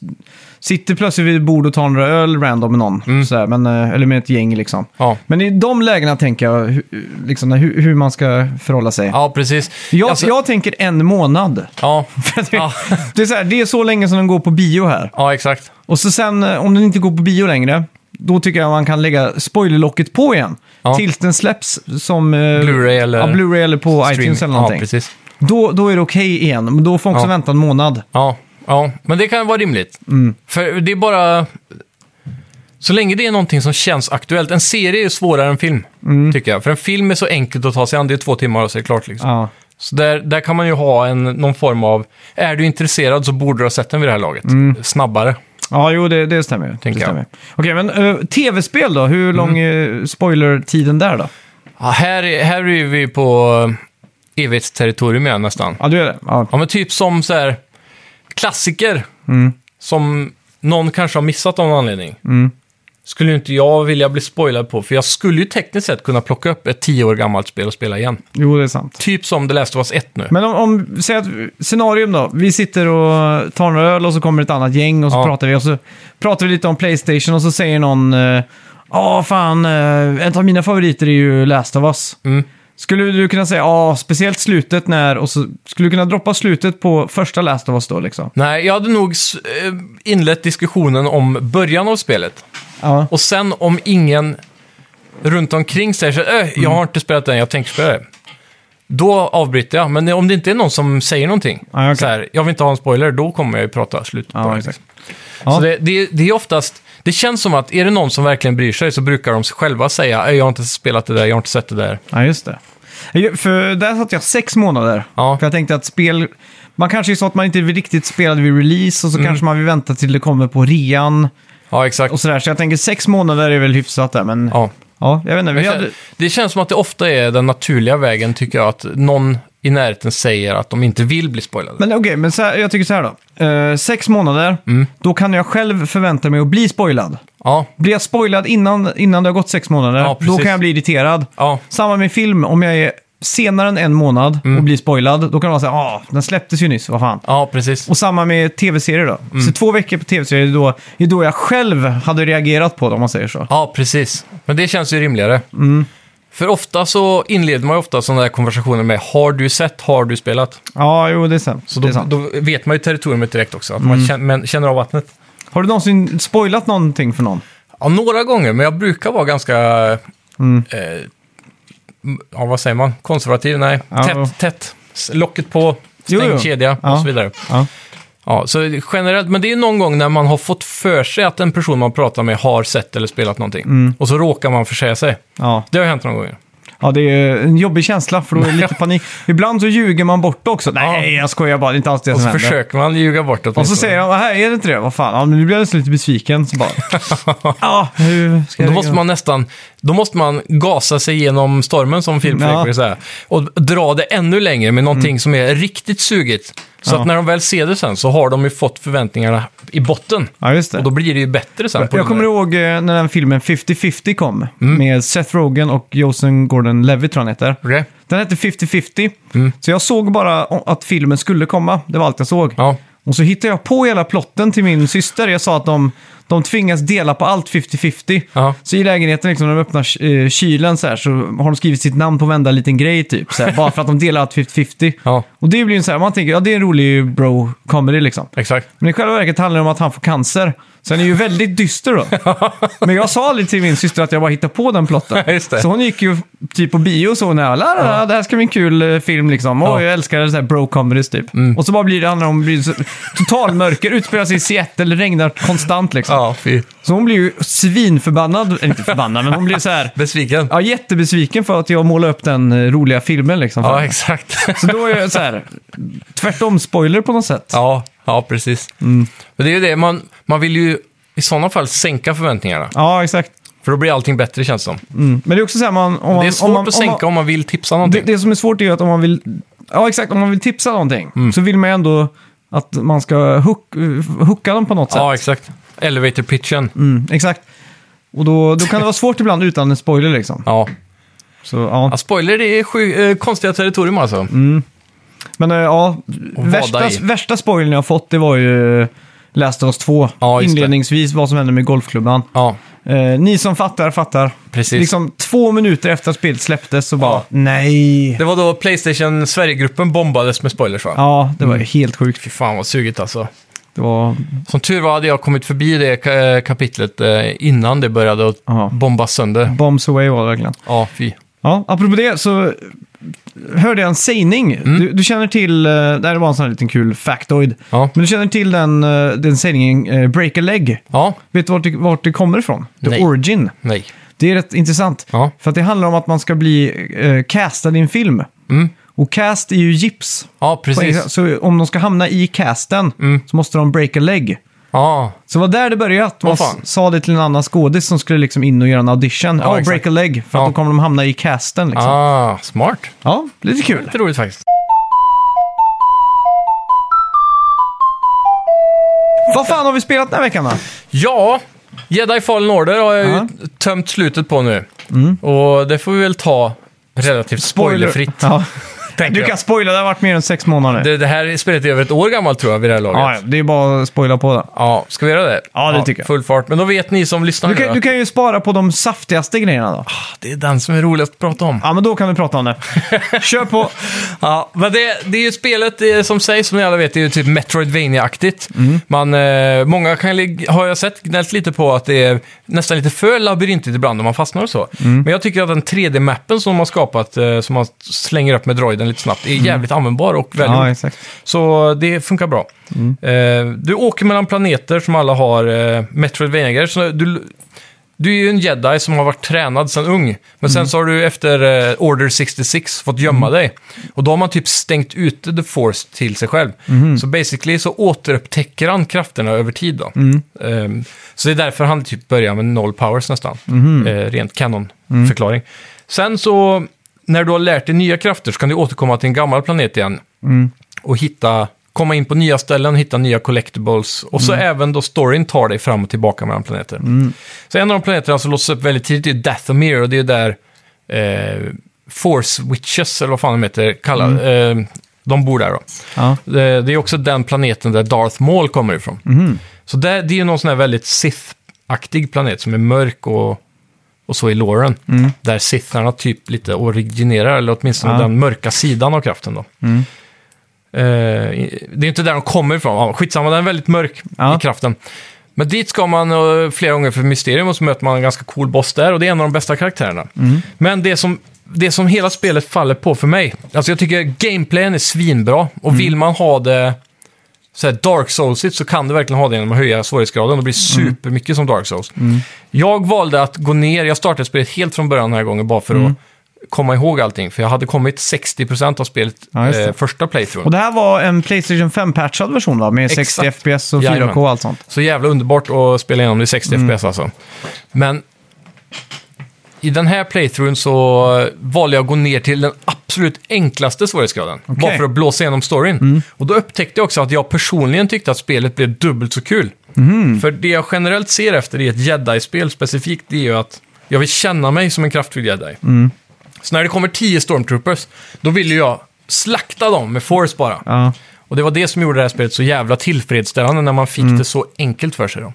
S1: sitter plötsligt vid ett bord och tar några öl random med någon. Sådär, men, eh, eller med ett gäng liksom.
S2: Mm. Ja.
S1: Men i de lägena tänker jag hu- liksom, hur, hur man ska förhålla sig.
S2: Ja, precis.
S1: Jag,
S2: Alltså,
S1: jag tänker en månad.
S2: Ja.
S1: det,
S2: Ja.
S1: [laughs] det, är så här, det är så länge som den går på bio här.
S2: ja, exakt.
S1: Och så sen, eh, om den inte går på bio längre, då tycker jag man kan lägga spoilerlocket på igen.
S2: Ja.
S1: Tills den släpps som... eh,
S2: Blu-ray eller
S1: ja, Blu-ray eller på
S2: Streaming.
S1: iTunes eller någonting.
S2: Ja, precis.
S1: Då, då är det okej igen, men då får man också
S2: Ja.
S1: vänta en månad.
S2: Ja, ja, men det kan vara rimligt.
S1: Mm.
S2: För det är bara... Så länge det är någonting som känns aktuellt. En serie är svårare än film, tycker jag. För en film är så enkelt att ta sig an. Det är två timmar och så är det klart. Liksom.
S1: Mm. Ja.
S2: Så där, där kan man ju ha en, någon form av... Är du intresserad så borde du ha sett den vid det här laget.
S1: Mm.
S2: Snabbare.
S1: Ja, jo, det, det stämmer. ju.
S2: Tänker
S1: det
S2: jag. Mm.
S1: stämmer. Okej, men eh, tv-spel då? Hur lång är spoilertiden där då?
S2: Ja, här, är- här är vi på eh, evighetsterritorium igen nästan.
S1: Ja, du är det? Ja.
S2: Ja, men typ som så här klassiker
S1: Mm.
S2: som någon kanske har missat av någon anledning. Skulle ju inte jag vilja bli spoilad på, för jag skulle ju tekniskt sett kunna plocka upp ett tio år gammalt spel och spela igen.
S1: Jo, det är sant.
S2: Typ som The Last of Us 1 nu.
S1: Men om, om säg att, scenarium då. Vi sitter och tar en öl och så kommer ett annat gäng och så
S2: Ja.
S1: pratar vi. Och så pratar vi lite om Playstation och så säger någon eh, Ja, fan, eh, en av mina favoriter är ju Last of Us.
S2: Mm.
S1: Skulle du kunna säga, ja, speciellt slutet när... Och så skulle du kunna droppa slutet på första Last of Us då liksom?
S2: Nej, jag hade nog s- eh, inlett diskussionen om början av spelet.
S1: Ja.
S2: Och sen om ingen runt omkring säger så här, äh, jag
S1: Mm.
S2: har inte spelat den, jag tänker spela det. Då avbryter jag, men om det inte är någon som säger någonting,
S1: Ja, okej.
S2: så här, jag vill inte ha en spoiler, då kommer jag ju prata slut på
S1: Ja,
S2: det,
S1: exakt.
S2: liksom.
S1: Ja.
S2: Så det, det, det är oftast, det känns som att är det någon som verkligen bryr sig så brukar de själva säga, äh, jag har inte spelat det där, jag har inte sett det där.
S1: Ja, just det. Ju- För där satt jag sex månader.
S2: Ja.
S1: För jag tänkte att spel... Man kanske är så att man inte riktigt spelade vid release och så kanske man vill vänta till det kommer på rean
S2: Ja, exakt.
S1: och sådär. Så jag tänker sex månader är väl hyfsat där, men... Ja,
S2: Ja.
S1: jag vet inte. Vi hade...
S2: Det känns som att det ofta är den naturliga vägen, tycker jag, att någon i närheten säger att de inte vill bli spoilade.
S1: Men okej, men så här, jag tycker så här då. Eh, sex månader,
S2: Mm.
S1: då kan jag själv förvänta mig att bli spoilad.
S2: Ja,
S1: Blir jag spoilad innan, innan det har gått sex månader,
S2: Ja,
S1: då
S2: precis.
S1: kan jag bli irriterad.
S2: ja,
S1: Samma med film, om jag är senare än en månad och
S2: Mm.
S1: blir spoilad, då kan man säga ah, den släpptes ju nyss, vad fan.
S2: ja precis.
S1: Och samma med tv-serier då.
S2: Mm.
S1: Så två veckor på tv-serier är då, är då jag själv hade reagerat på det, om man säger så.
S2: Ja, precis. Men det känns ju rimligare.
S1: Mm.
S2: För ofta så inleder man ju ofta sådana där konversationer med har du sett, har du spelat?
S1: Ja, jo, det är sant.
S2: Så
S1: det
S2: då,
S1: är sant. Mm.
S2: då vet man ju territoriet direkt också, att man känner, men, känner av vattnet.
S1: Har du någonsin spoilat någonting för någon?
S2: Ja, några gånger, men jag brukar vara ganska...
S1: Mm.
S2: Eh, ja, vad säger man? Konservativ? Nej,
S1: Ja.
S2: tätt, tätt. S- Locket på,
S1: Jo,
S2: stängd
S1: jo.
S2: kedja
S1: Ja.
S2: och så vidare.
S1: Ja.
S2: Ja, så generellt, men det är någon gång när man har fått för sig att en person man pratar med har sett eller spelat någonting. Och så råkar man försäga sig.
S1: Ja,
S2: Det har hänt några gånger.
S1: ja Mm. det är en jobbig känsla för då är det
S2: [laughs]
S1: lite panik. Ibland så ljuger man bort det också. Nej, jag skojar bara. Det är inte alls det
S2: Och
S1: som
S2: så
S1: händer.
S2: försöker man ljuga bort det
S1: Och så säger jag, här är det inte det? Vad fan, ja, men nu blir jag nästan lite besviken. Så bara,
S2: [laughs]
S1: ja, hur ska jag
S2: Då måste man nästan, då måste man gasa sig genom stormen som Filip
S1: Ja. Mm.
S2: Fredrik brukar säga. Och dra det ännu längre med någonting som är riktigt sugigt. Så
S1: Ja.
S2: att när de väl ser det sen så har de ju fått förväntningarna i botten.
S1: Ja, just det.
S2: Och då blir det ju bättre sen. på
S1: Jag
S2: den
S1: kommer
S2: där. Mm.
S1: ihåg eh, när den filmen 50-50 kom med Seth Rogen och Joseph Gordon-Levitt tror jag han heter.
S2: Okej.
S1: Den hette 50-50,
S2: Mm.
S1: så jag såg bara o- att filmen skulle komma. Det var allt jag såg.
S2: Ja.
S1: Och så hittade jag på hela plotten till min syster. Jag sa att de, de tvingas dela på allt 50-50.
S2: Ja.
S1: Så i lägenheten, liksom, när de öppnar eh, kylen så, här, så har de skrivit sitt namn på varenda liten grej, typ. Så här, bara för att de delar allt 50-50.
S2: Ja.
S1: Och det blir ju så här, man tänker, ja det är en rolig bro-comedy liksom.
S2: Exakt.
S1: Men i själva verket handlar det om att han får cancer. Så han är ju väldigt dyster
S2: [laughs]
S1: då. Men jag sa aldrig till min syster att jag bara hittade på den plotten.
S2: Just det.
S1: Så hon gick ju typ på bio och så när jag la, la, la, det här ska bli en kul eh, film liksom. Oj,
S2: Ja. Mm.
S1: jag älskar så här bro comedies typ. Och så bara blir det handlar om blir så- totalmörker, utspelar sig i Seattle, det regnar konstant liksom.
S2: Ja, fy.
S1: Så hon blir ju svinförbannad, eller inte förbannad, men hon blir så här
S2: Besviken.
S1: ja, jättebesviken för att jag målade upp den eh, roliga filmen liksom. [laughs]
S2: Ja, exakt.
S1: så då är jag så här, tvärtom spoiler på något sätt.
S2: ja, ja, precis.
S1: Mm.
S2: Men det är ju det, man, man vill ju i sådana fall sänka förväntningarna.
S1: ja exakt.
S2: För då blir allting bättre känns det som.
S1: Mm. Men det är också så här, man, om man,
S2: det är svårt
S1: om man,
S2: att
S1: om
S2: sänka om
S1: man,
S2: man, vill tipsa
S1: det,
S2: någonting.
S1: det som är svårt är ju att om man vill, ja exakt, om man vill tipsa någonting
S2: Mm.
S1: så vill man ju ändå att man ska hook, hooka dem på något sätt.
S2: ja, exakt. Elevator pitchen.
S1: Mm, exakt. Och då, då kan det vara svårt ibland utan en spoiler liksom.
S2: Ja.
S1: Så, ja.
S2: Ja, spoiler, det är sju, eh, konstiga territorium alltså.
S1: Mm. Men eh, ja,
S2: Och vada
S1: värsta,
S2: i.
S1: värsta spoilern jag har fått det var ju eh, Last of Us 2.
S2: Ja, just det.
S1: Inledningsvis vad som hände med golfklubban.
S2: Ja,
S1: Eh, ni som fattar, fattar.
S2: Precis.
S1: Liksom två minuter efter att spelet släpptes så bara,
S2: Ja.
S1: nej.
S2: det var då Playstation Sverigegruppen bombades med spoilers va?
S1: Ja, det var ju helt sjukt.
S2: Fy fan vad sugigt alltså.
S1: Det var...
S2: Som tur var hade jag kommit förbi det ka- kapitlet eh, innan det började att
S1: Ja. Mm.
S2: bombas sönder.
S1: Bombs away var det verkligen.
S2: Ja, fy.
S1: Ja, apropå det så hörde jag en sägning.
S2: Mm.
S1: Du, du känner till, eh, det här var en sån här liten kul factoid.
S2: Ja.
S1: Men du känner till den, eh, den sägningen eh, “break a leg”.
S2: Ja,
S1: Vet du vart det, vart det kommer ifrån? The
S2: Nej.
S1: origin.
S2: nej.
S1: Det är rätt intressant.
S2: Ja.
S1: För att det handlar om att man ska bli eh, castad i en film. Och cast är ju gips.
S2: Ja,
S1: på engelska.
S2: Mm. precis. Mm.
S1: Så om de ska hamna i casten så måste de break a leg.
S2: Ja,
S1: Så det var där det började, att man
S2: Åh, fan.
S1: s- sa det till en annan skådis som skulle liksom in och göra en audition. Ja,
S2: exakt.
S1: break a leg, för att
S2: Ja.
S1: då kommer de hamna i casten liksom. Ja,
S2: ah, smart.
S1: lite kul.
S2: Lite roligt faktiskt.
S1: Vad fan har vi spelat den här veckan då?
S2: Ja, Jedi Fallen Order har jag
S1: Ja. Mm.
S2: ju tömt slutet på nu. Och det får vi väl ta relativt spoilerfritt.
S1: Ja.
S2: [laughs] tänker
S1: Du
S2: jag.
S1: kan spoila, det har varit mer än sex månader.
S2: Det, det här spelet är över ett år gammalt tror jag vid det här laget.
S1: ja, ja, det är bara att spoila på det.
S2: Ja, ska vi göra det?
S1: Ja, det tycker jag.
S2: Full fart. Men då vet ni som lyssnar
S1: Du
S2: nu
S1: kan,
S2: att
S1: du kan ju spara på de saftigaste grejerna då.
S2: det är den som är roligast att prata om.
S1: Ja, men då kan vi prata om
S2: [laughs]
S1: det. Kör på!
S2: Ja, men det, det är ju spelet eh, som sägs, som ni alla vet, det är ju typ Metroidvania-aktigt.
S1: Mm.
S2: Man, eh, många kan, lig- har jag sett gnällt lite på att det är nästan lite för labyrintigt ibland om man fastnar och så.
S1: Mm.
S2: Men jag tycker att den 3D-mappen som de har skapat, eh, som man slänger upp med droiden lite snabbt, är jävligt användbar och väldigt
S1: Mm. Ja, exakt.
S2: Så det funkar bra. Eh, du åker mellan planeter som alla har eh, metroidvania så du, du är ju en jedi som har varit tränad sedan ung. Men sen så har du efter eh, Order 66 fått gömma dig. Och då har man typ stängt ute the force till sig själv. Så basically så återupptäcker han krafterna över tid då. Eh, så det är därför han typ börjar med noll powers nästan. Eh, rent kanonförklaring. Sen så, när du har lärt dig nya krafter så kan du återkomma till en gammal planet igen och hitta, komma in på nya ställen, hitta nya collectibles. Och så även då storyn tar dig fram och tillbaka mellan planeter. Så en av de planeterna som låses upp väldigt tidigt är Dathomir och det är där eh, Force Witches, eller vad fan de heter, kallar, eh, de bor där då. Eh,
S1: Ja.
S2: Det, det är också den planeten där Darth Maul kommer ifrån. Så det, det är ju någon sån här väldigt Sith-aktig planet som är mörk och, och så i låren. Där Sitharna typ lite originerar, eller åtminstone
S1: Mm. Ja. Mm.
S2: den mörka sidan av kraften då. Eh, i- det är inte där de kommer ifrån. Ja, skitsamma, den är väldigt mörk
S1: Ja.
S2: i kraften. Men dit ska man eh, flera gånger för mysterium och så möter man en ganska cool boss där och det är en av de bästa karaktärerna.
S1: Mm.
S2: Men det som, det som hela spelet faller på för mig, alltså jag tycker gameplayen är svinbra och
S1: Mm.
S2: vill man ha det så här Dark Souls-igt så kan du verkligen ha det genom att höja svårighetsgraden och bli
S1: Mm.
S2: supermycket som Dark Souls. Jag valde att gå ner, jag startade spelet helt från början den här gången bara för
S1: Mm.
S2: att komma ihåg allting, för jag hade kommit 60% av spelet
S1: Ja, just det.
S2: eh, första playthrough.
S1: Och det här var en Playstation 5-patchad version va? Med
S2: Exakt.
S1: 60 FPS och 4K
S2: Jajamän.
S1: och allt sånt.
S2: Så jävla underbart att spela igenom det i 60 FPS alltså. Men i den här playthroughen så valde jag att gå ner till den absolut enklaste svårighetsgraden. Bara för att blåsa igenom storyn. Och då upptäckte jag också att jag personligen tyckte att spelet blev dubbelt så kul. För det jag generellt ser efter i ett jedi-spel specifikt, det är ju att jag vill känna mig som en kraftfull jedi. Så när det kommer 10 stormtroopers, då vill ju jag slakta dem med force bara.
S1: Ja.
S2: Och det var det som gjorde det här spelet så jävla tillfredsställande när man fick det så enkelt för sig. Då.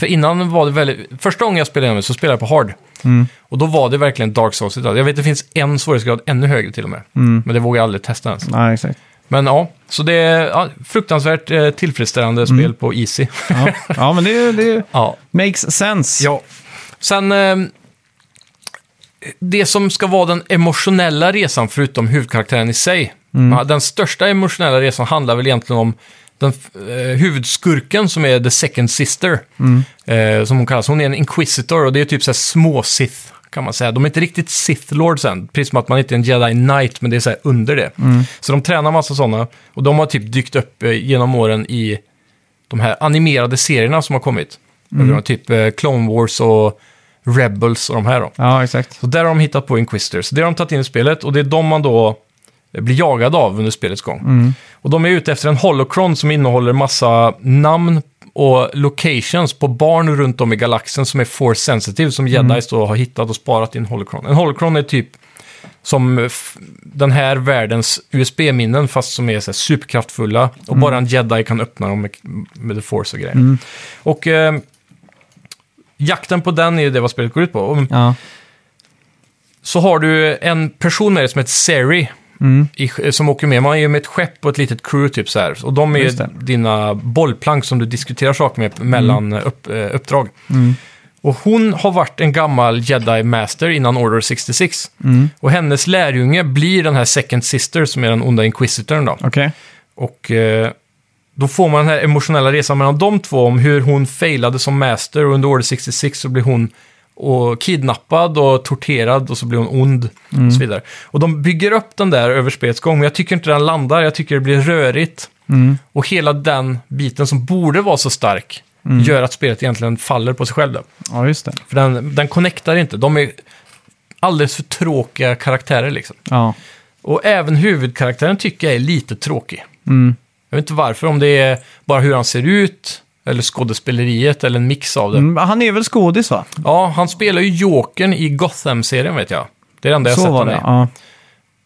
S2: För innan var det väldigt... Första gången jag spelade igenom det så spelade jag på hard. Och då var det verkligen Dark Souls. Jag vet att det finns en svårighetsgrad ännu högre till och med. Men det vågar jag aldrig testa ens.
S1: Nej, exakt.
S2: Men ja, så det är ja, fruktansvärt eh, tillfredsställande spel på Easy.
S1: Ja, ja men det, är- det är-
S2: [laughs] ja.
S1: makes sense.
S2: Ja. Sen, eh, det som ska vara den emotionella resan, förutom huvudkaraktären i sig. Ja, Den största emotionella resan handlar väl egentligen om den eh, huvudskurken som är The Second Sister, eh, som hon kallas. Hon är en inquisitor och det är typ så här små Sith, kan man säga. De är inte riktigt Sith Lords än, precis som att man inte är en Jedi Knight, men det är så här under det. Så de tränar massa sådana, och de har typ dykt upp eh, genom åren i de här animerade serierna som har kommit. Mm. Typ eh, Clone Wars och Rebels och de här då.
S1: Ja, exakt.
S2: Så där har de hittat på Inquisitors. Det har de tagit in i spelet och det är de man då eh, blir jagad av under spelets gång. Och de är ute efter en holocron som innehåller massa namn och locations på barn runt om i galaxen som är force sensitive, som jedis då har hittat och sparat i en holocron. En holocron är typ som eh, f- den här världens USB-minnen, fast som är så här, superkraftfulla. Och bara en jedi kan öppna dem med, med the force och grejer. Och eh, jakten på den är ju det vad spelet går ut på. Och
S1: Ja.
S2: så har du en person med dig som heter Seri. I, eh, som åker med. Man är ju med ett skepp och ett litet crew typ så här. Och de är ju
S1: Just det.
S2: dina bollplank som du diskuterar saker med mellan
S1: Mm.
S2: upp, eh, uppdrag. Och hon har varit en gammal Jedi Master innan Order 66.
S1: Mm.
S2: Och hennes lärjunge blir den här Second Sister som är den onda Inquisitorn då.
S1: Okej.
S2: Och eh, då får man den här emotionella resan mellan de två om hur hon failade som master och under Order 66 så blir hon och kidnappad och torterad och så blir hon ond och så vidare. Och de bygger upp den där över spelets gång, men jag tycker inte den landar, jag tycker det blir rörigt. Och hela den biten som borde vara så stark gör att spelet egentligen faller på sig själv. Då.
S1: Ja, just det.
S2: För den, den connectar inte, de är alldeles för tråkiga karaktärer liksom.
S1: Ja.
S2: Och även huvudkaraktären tycker jag är lite tråkig.
S1: Mm.
S2: Jag vet inte varför, om det är bara hur han ser ut, eller skådespeleriet, eller en mix av det.
S1: Mm, Han är väl skådis va?
S2: Ja, han spelar ju Jokern i Gotham-serien vet jag. Det är det enda jag
S1: Så
S2: sett
S1: var
S2: honom
S1: det.
S2: i.
S1: Ja.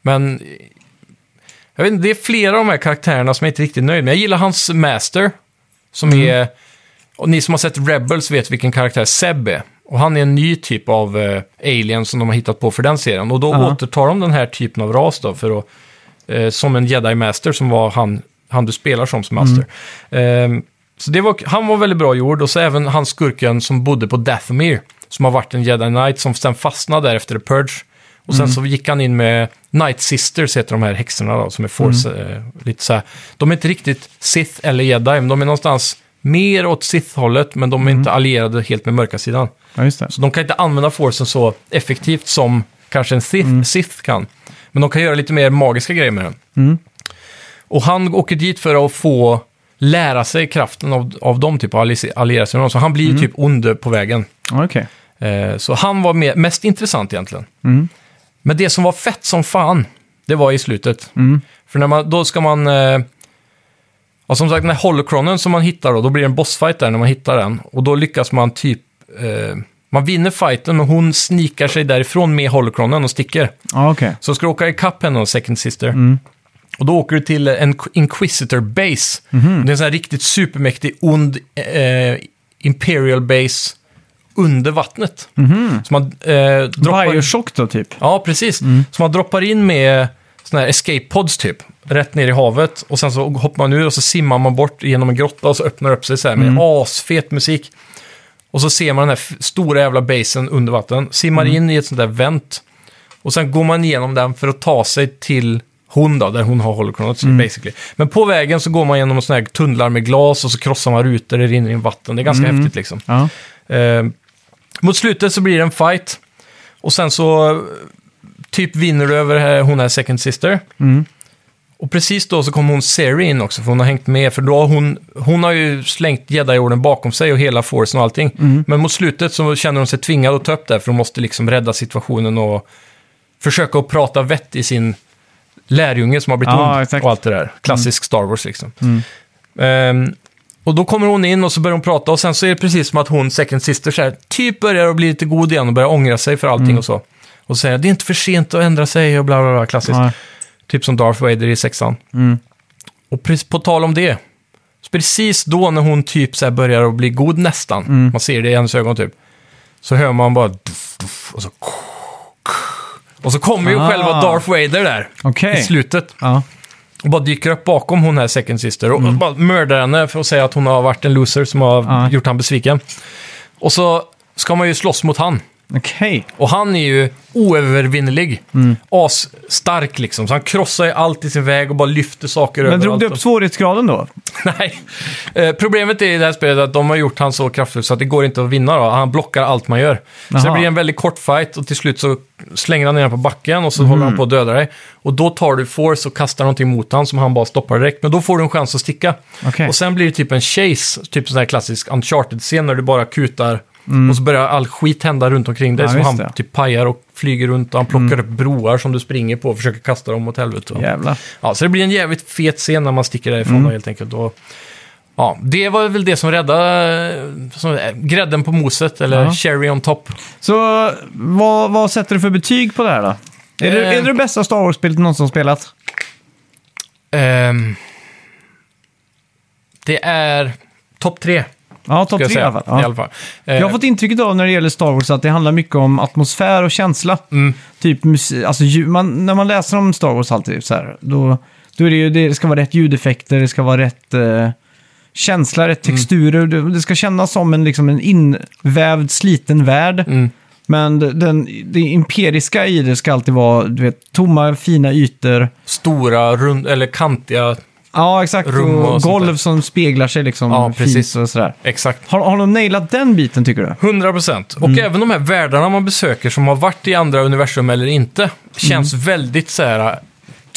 S2: Men eh, jag vet inte, det är flera av de här karaktärerna som jag inte är riktigt nöjd med. Jag gillar hans master, som
S1: Mm.
S2: är... Och ni som har sett Rebels vet vilken karaktär Seb är. Och han är en ny typ av eh, alien som de har hittat på för den serien. Och då
S1: Aha.
S2: återtar de den här typen av ras då, för att, eh, som en jedi master som var han, han du spelar som som master. Ehm, så det var, han var väldigt bra gjord och så även han skurken som bodde på Dathomir, som har varit en jedi knight som sen fastnade där efter The Purge. Och sen så gick han in med Night Sisters, heter de här häxorna då, som är force, eh, lite så här. De är inte riktigt Sith eller jedi, men de är någonstans mer åt Sith-hållet, men de är inte allierade helt med mörka sidan.
S1: ja, just det.
S2: Så de kan inte använda forcen så effektivt som kanske en Sith, Sith kan. Men de kan göra lite mer magiska grejer med den. Och han åker dit för att få lära sig kraften av, av dem, typ, och alli- alliera sig med dem. Så han blir ju typ ond på vägen.
S1: Ja, Okej.
S2: Eh, så han var mer, mest intressant egentligen. Men det som var fett som fan, det var i slutet. För när man, då ska man... Eh, ja, som sagt, den här holocronen som man hittar då, då blir det en bossfight där när man hittar den. Och då lyckas man typ... Eh, man vinner fighten och hon snikar sig därifrån med holocronen och sticker.
S1: Ja, okej.
S2: Så ska du åka ikapp henne och Second Sister. Och då åker du till en Inquisitor Base. Det är en sån här riktigt supermäktig, ond eh, Imperial Base under vattnet. Så man eh, droppar...
S1: Bioshock då, typ?
S2: Ja, precis. Så man droppar in med såna här escape pods typ, rätt ner i havet. Och sen så hoppar man ur och så simmar man bort genom en grotta och så öppnar det upp sig så här med asfet musik. Och så ser man den här f- stora jävla basen under vatten, simmar in i ett sånt där vänt. Och sen går man igenom den för att ta sig till hon då, där hon har holocronet basically. Men på vägen så går man genom såna här tunnlar med glas och så krossar man rutor, det rinner in vatten. Det är ganska häftigt liksom.
S1: Ja.
S2: Eh, mot slutet så blir det en fight. Och sen så eh, typ vinner du över här, hon här second sister.
S1: Mm.
S2: Och precis då så kommer hon Seri in också, för hon har hängt med. För då har hon, hon har ju slängt jedi-orden bakom sig och hela forcen och allting.
S1: Mm.
S2: Men mot slutet så känner hon sig tvingad att ta upp det, här, för hon måste liksom rädda situationen och försöka att prata vett i sin lärjunge som har blivit
S1: Ja,
S2: ond
S1: exakt. Mm.
S2: och allt det där. Klassisk Star Wars liksom. Ehm, och då kommer hon in och så börjar hon prata och sen så är det precis som att hon, second sister, så här, typ börjar att bli lite god igen och börjar ångra sig för
S1: Mm.
S2: allting och så. Och så säger jag, det är inte för sent att ändra sig och bla bla bla, klassiskt.
S1: Ja.
S2: Typ som Darth Vader i sexan.
S1: Mm.
S2: Och precis på tal om det, så precis då när hon typ så här börjar att bli god nästan,
S1: Mm.
S2: man ser det i hennes ögon typ, så hör man bara duff, duff, och så... Och så kommer ju
S1: Ah.
S2: själva Darth Vader där
S1: Okej.
S2: i slutet.
S1: Ja.
S2: Och bara dyker upp bakom hon här second sister och och bara mördar henne för att säga att hon har varit en loser som har
S1: Mm. Ja.
S2: gjort han besviken. Och så ska man ju slåss mot han.
S1: Okej.
S2: Och han är ju oövervinnerlig.
S1: Mm.
S2: Asstark liksom. Så han krossar ju allt i sin väg och bara lyfter saker
S1: Men
S2: överallt.
S1: drog du upp svårighetsgraden då?
S2: [laughs] Nej. Eh, problemet är i det här spelet att de har gjort han så kraftfull så att det går inte att vinna då. Han blockar allt man gör. Så det
S1: Jaha.
S2: blir en väldigt kort fight och till slut så slänger han ner på backen och så håller
S1: Mm.
S2: han på att döda dig. Och då tar du force och kastar någonting mot han som han bara stoppar direkt. Men då får du en chans att sticka.
S1: Okej.
S2: Och sen blir det typ en chase, typ sån här klassisk uncharted-scen när du bara kutar och så börjar all skit hända runt omkring dig.
S1: Mm. Ja, just
S2: så han
S1: det. Mm.
S2: typ pajar och flyger runt och han plockar upp broar som du springer på och försöker kasta dem åt helvete.
S1: Jävlar.
S2: Ja, så det blir en jävligt fet scen när man sticker därifrån
S1: Mm.
S2: då, helt enkelt. Och, ja, det var väl det som räddade eh, som, eh, grädden på moset, eller
S1: Ja.
S2: cherry on top.
S1: Så vad, vad sätter du för betyg på det här då? Är,
S2: Eh.
S1: det, är det det bästa Star Wars-spelet någonsin spelat?
S2: Ehm, det är topp tre.
S1: Ja, topp
S2: ska jag
S1: tre i
S2: säga,
S1: alla fall. Ja.
S2: I alla fall. Eh,
S1: Jag har fått intrycket av när det gäller Star Wars att det handlar mycket om atmosfär och känsla.
S2: Mm.
S1: Typ musik, alltså ljud, man, när man läser om Star Wars alltid så här, då, då är det ju, det ska vara rätt ljudeffekter, det ska vara rätt eh, känsla, rätt
S2: Mm.
S1: texturer. Det, det ska kännas som en, liksom en invävd, sliten värld.
S2: Mm.
S1: Men den, det imperiska i det ska alltid vara, du vet, tomma fina ytor.
S2: Stora, rund, eller kantiga.
S1: Ja, exakt.
S2: Rum och
S1: och
S2: sånt
S1: golv
S2: där.
S1: som speglar sig liksom
S2: Ja, precis.
S1: fint och sådär.
S2: Exakt.
S1: Har, har de nailat den biten tycker du?
S2: 100 procent. Och även de här världarna man besöker som har varit i andra universum eller inte känns väldigt så här uh,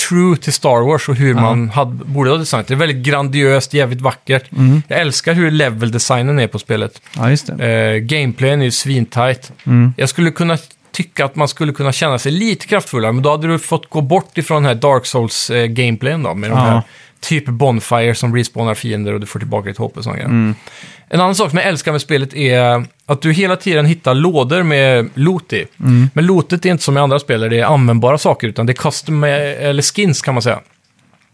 S2: true till Star Wars och hur man hade, borde ha designat. Det är väldigt grandiöst, jävligt vackert. Jag älskar hur level-designen är på spelet.
S1: Ja, just det.
S2: Eh, gameplayen är ju svintajt. Jag skulle kunna tycka att man skulle kunna känna sig lite kraftfullare, men då hade du fått gå bort ifrån den här Dark Souls-gameplayen då, med de
S1: Ja.
S2: här typ Bonfire som respawnar fiender och du får tillbaka ditt HP och sånt mm. En annan sak som jag älskar med spelet är att du hela tiden hittar lådor med loot i.
S1: Mm.
S2: Men lootet är inte som i andra spel där det är användbara saker, utan det är custom, eh, eller skins kan man säga.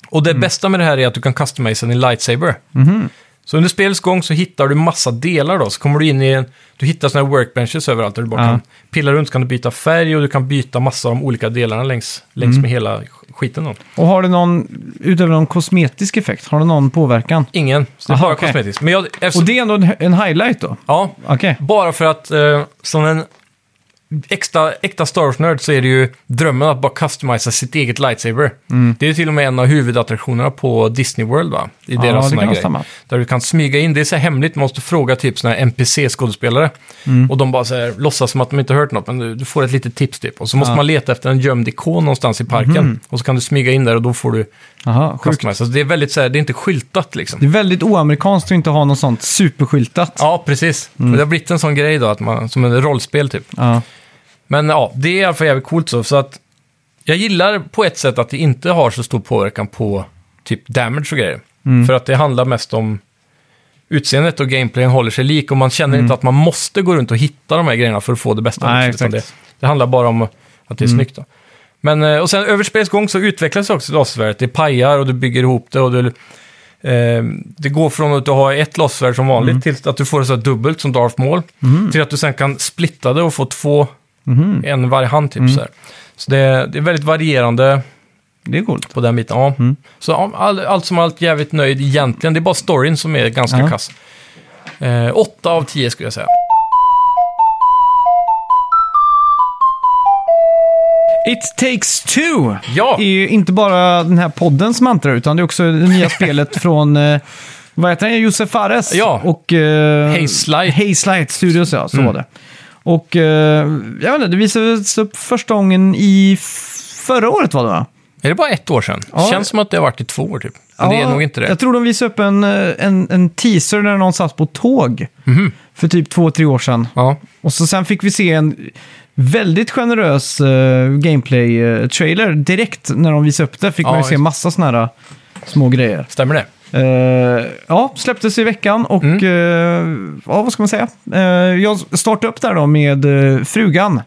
S2: Och
S1: Mm.
S2: det bästa med det här är att du kan customize din lightsaber.
S1: Mhm.
S2: Så under spelets gång så hittar du massa delar då, så kommer du in i en... Du hittar såna här workbenches överallt där du bara
S1: Ja.
S2: kan pilla runt, så kan du byta färg och du kan byta massa av de olika delarna längs, längs
S1: Mm.
S2: med hela skiten då.
S1: Och har det någon, utöver någon kosmetisk effekt, har det någon påverkan?
S2: Ingen, så det är
S1: Aha,
S2: bara
S1: okej.
S2: kosmetiskt. Men jag... Eftersom,
S1: Och det är ändå en, en highlight då?
S2: Ja,
S1: Okej.
S2: bara för att eh, som en extra, äkta Star Wars-nörd så är det ju drömmen att bara customisa sitt eget lightsaber.
S1: Mm.
S2: Det är ju till och med en av huvudattraktionerna på Disney World, va? I
S1: Ja,
S2: deras
S1: det
S2: såna
S1: kan
S2: här grej.
S1: stämma.
S2: Där du kan smyga in, det är så här hemligt, man måste fråga typ såna här NPC-skådespelare.
S1: Mm.
S2: Och de bara så här, låtsas som att de inte hört något, men du, du får ett litet tips typ. Och så måste man leta efter en gömd ikon någonstans i parken. Och så kan du smyga in där och då får du
S1: Aha, Mhm. sjukt.
S2: customisa. Så det är väldigt så här, det är inte skyltat liksom.
S1: Det är väldigt oamerikanskt att inte ha något sånt superskyltat.
S2: Ja, precis. Men Det har blivit en sån grej då, att man, som en rollspel typ.
S1: Ja.
S2: Men ja, det är i alla fall jävligt coolt så. så att jag gillar på ett sätt att det inte har så stor påverkan på typ damage och grejer.
S1: Mm.
S2: För att det handlar mest om utseendet och gameplayen håller sig lik och man känner inte att man måste gå runt och hitta de här grejerna för att få det bästa.
S1: Mm. Nej,
S2: liksom, utan
S1: exakt. Mm.
S2: Det, det handlar bara om att det är snyggt. Då. Men, eh, och sen över spelets gång så utvecklas också lasersvärdet. Det pajar och du bygger ihop det och du Eh, det går från att du har ett lasersvärd som vanligt
S1: Mm.
S2: till att du får det så här dubbelt som Darth Maul. Till att du sen kan splitta det och få två,
S1: Mhm.
S2: en varje hand typ.
S1: Mm.
S2: Så, här. så det, det är väldigt varierande
S1: Det är coolt.
S2: på den biten. Ja.
S1: Mm.
S2: Så ja, all, allt som allt jävligt nöjd egentligen. Det är bara storyn som är ganska
S1: Ja.
S2: kass. Eh, åtta av tio skulle jag säga.
S1: It takes two!
S2: Ja!
S1: är ju inte bara den här poddens mantra, utan det är också det nya spelet
S2: [laughs]
S1: från, eh, vad heter han, Josef Fares?
S2: Ja. Mm.
S1: Och... Eh,
S2: Haze Light.
S1: Haze Light Studios, ja. Så var det. Och eh, jag vet inte, det visades upp första gången i f- förra året var det va?
S2: Är det bara ett år sedan?
S1: Ja.
S2: Känns som att det har varit i två år typ. Men det är nog inte det.
S1: Jag tror de visade upp en, eh, en, en teaser när någon satt på tåg
S2: Mhm.
S1: för typ två, tre år sedan.
S2: Ja.
S1: Och så sen fick vi se en väldigt generös eh, gameplay-trailer direkt när de visade upp det. Fick
S2: Ja,
S1: man ju se
S2: just.
S1: massa såna här eh, små grejer.
S2: Stämmer det?
S1: Eh, ja, släpptes i veckan och
S2: Mm.
S1: eh, ja, vad ska man säga? Eh, jag startade upp där då med eh, frugan.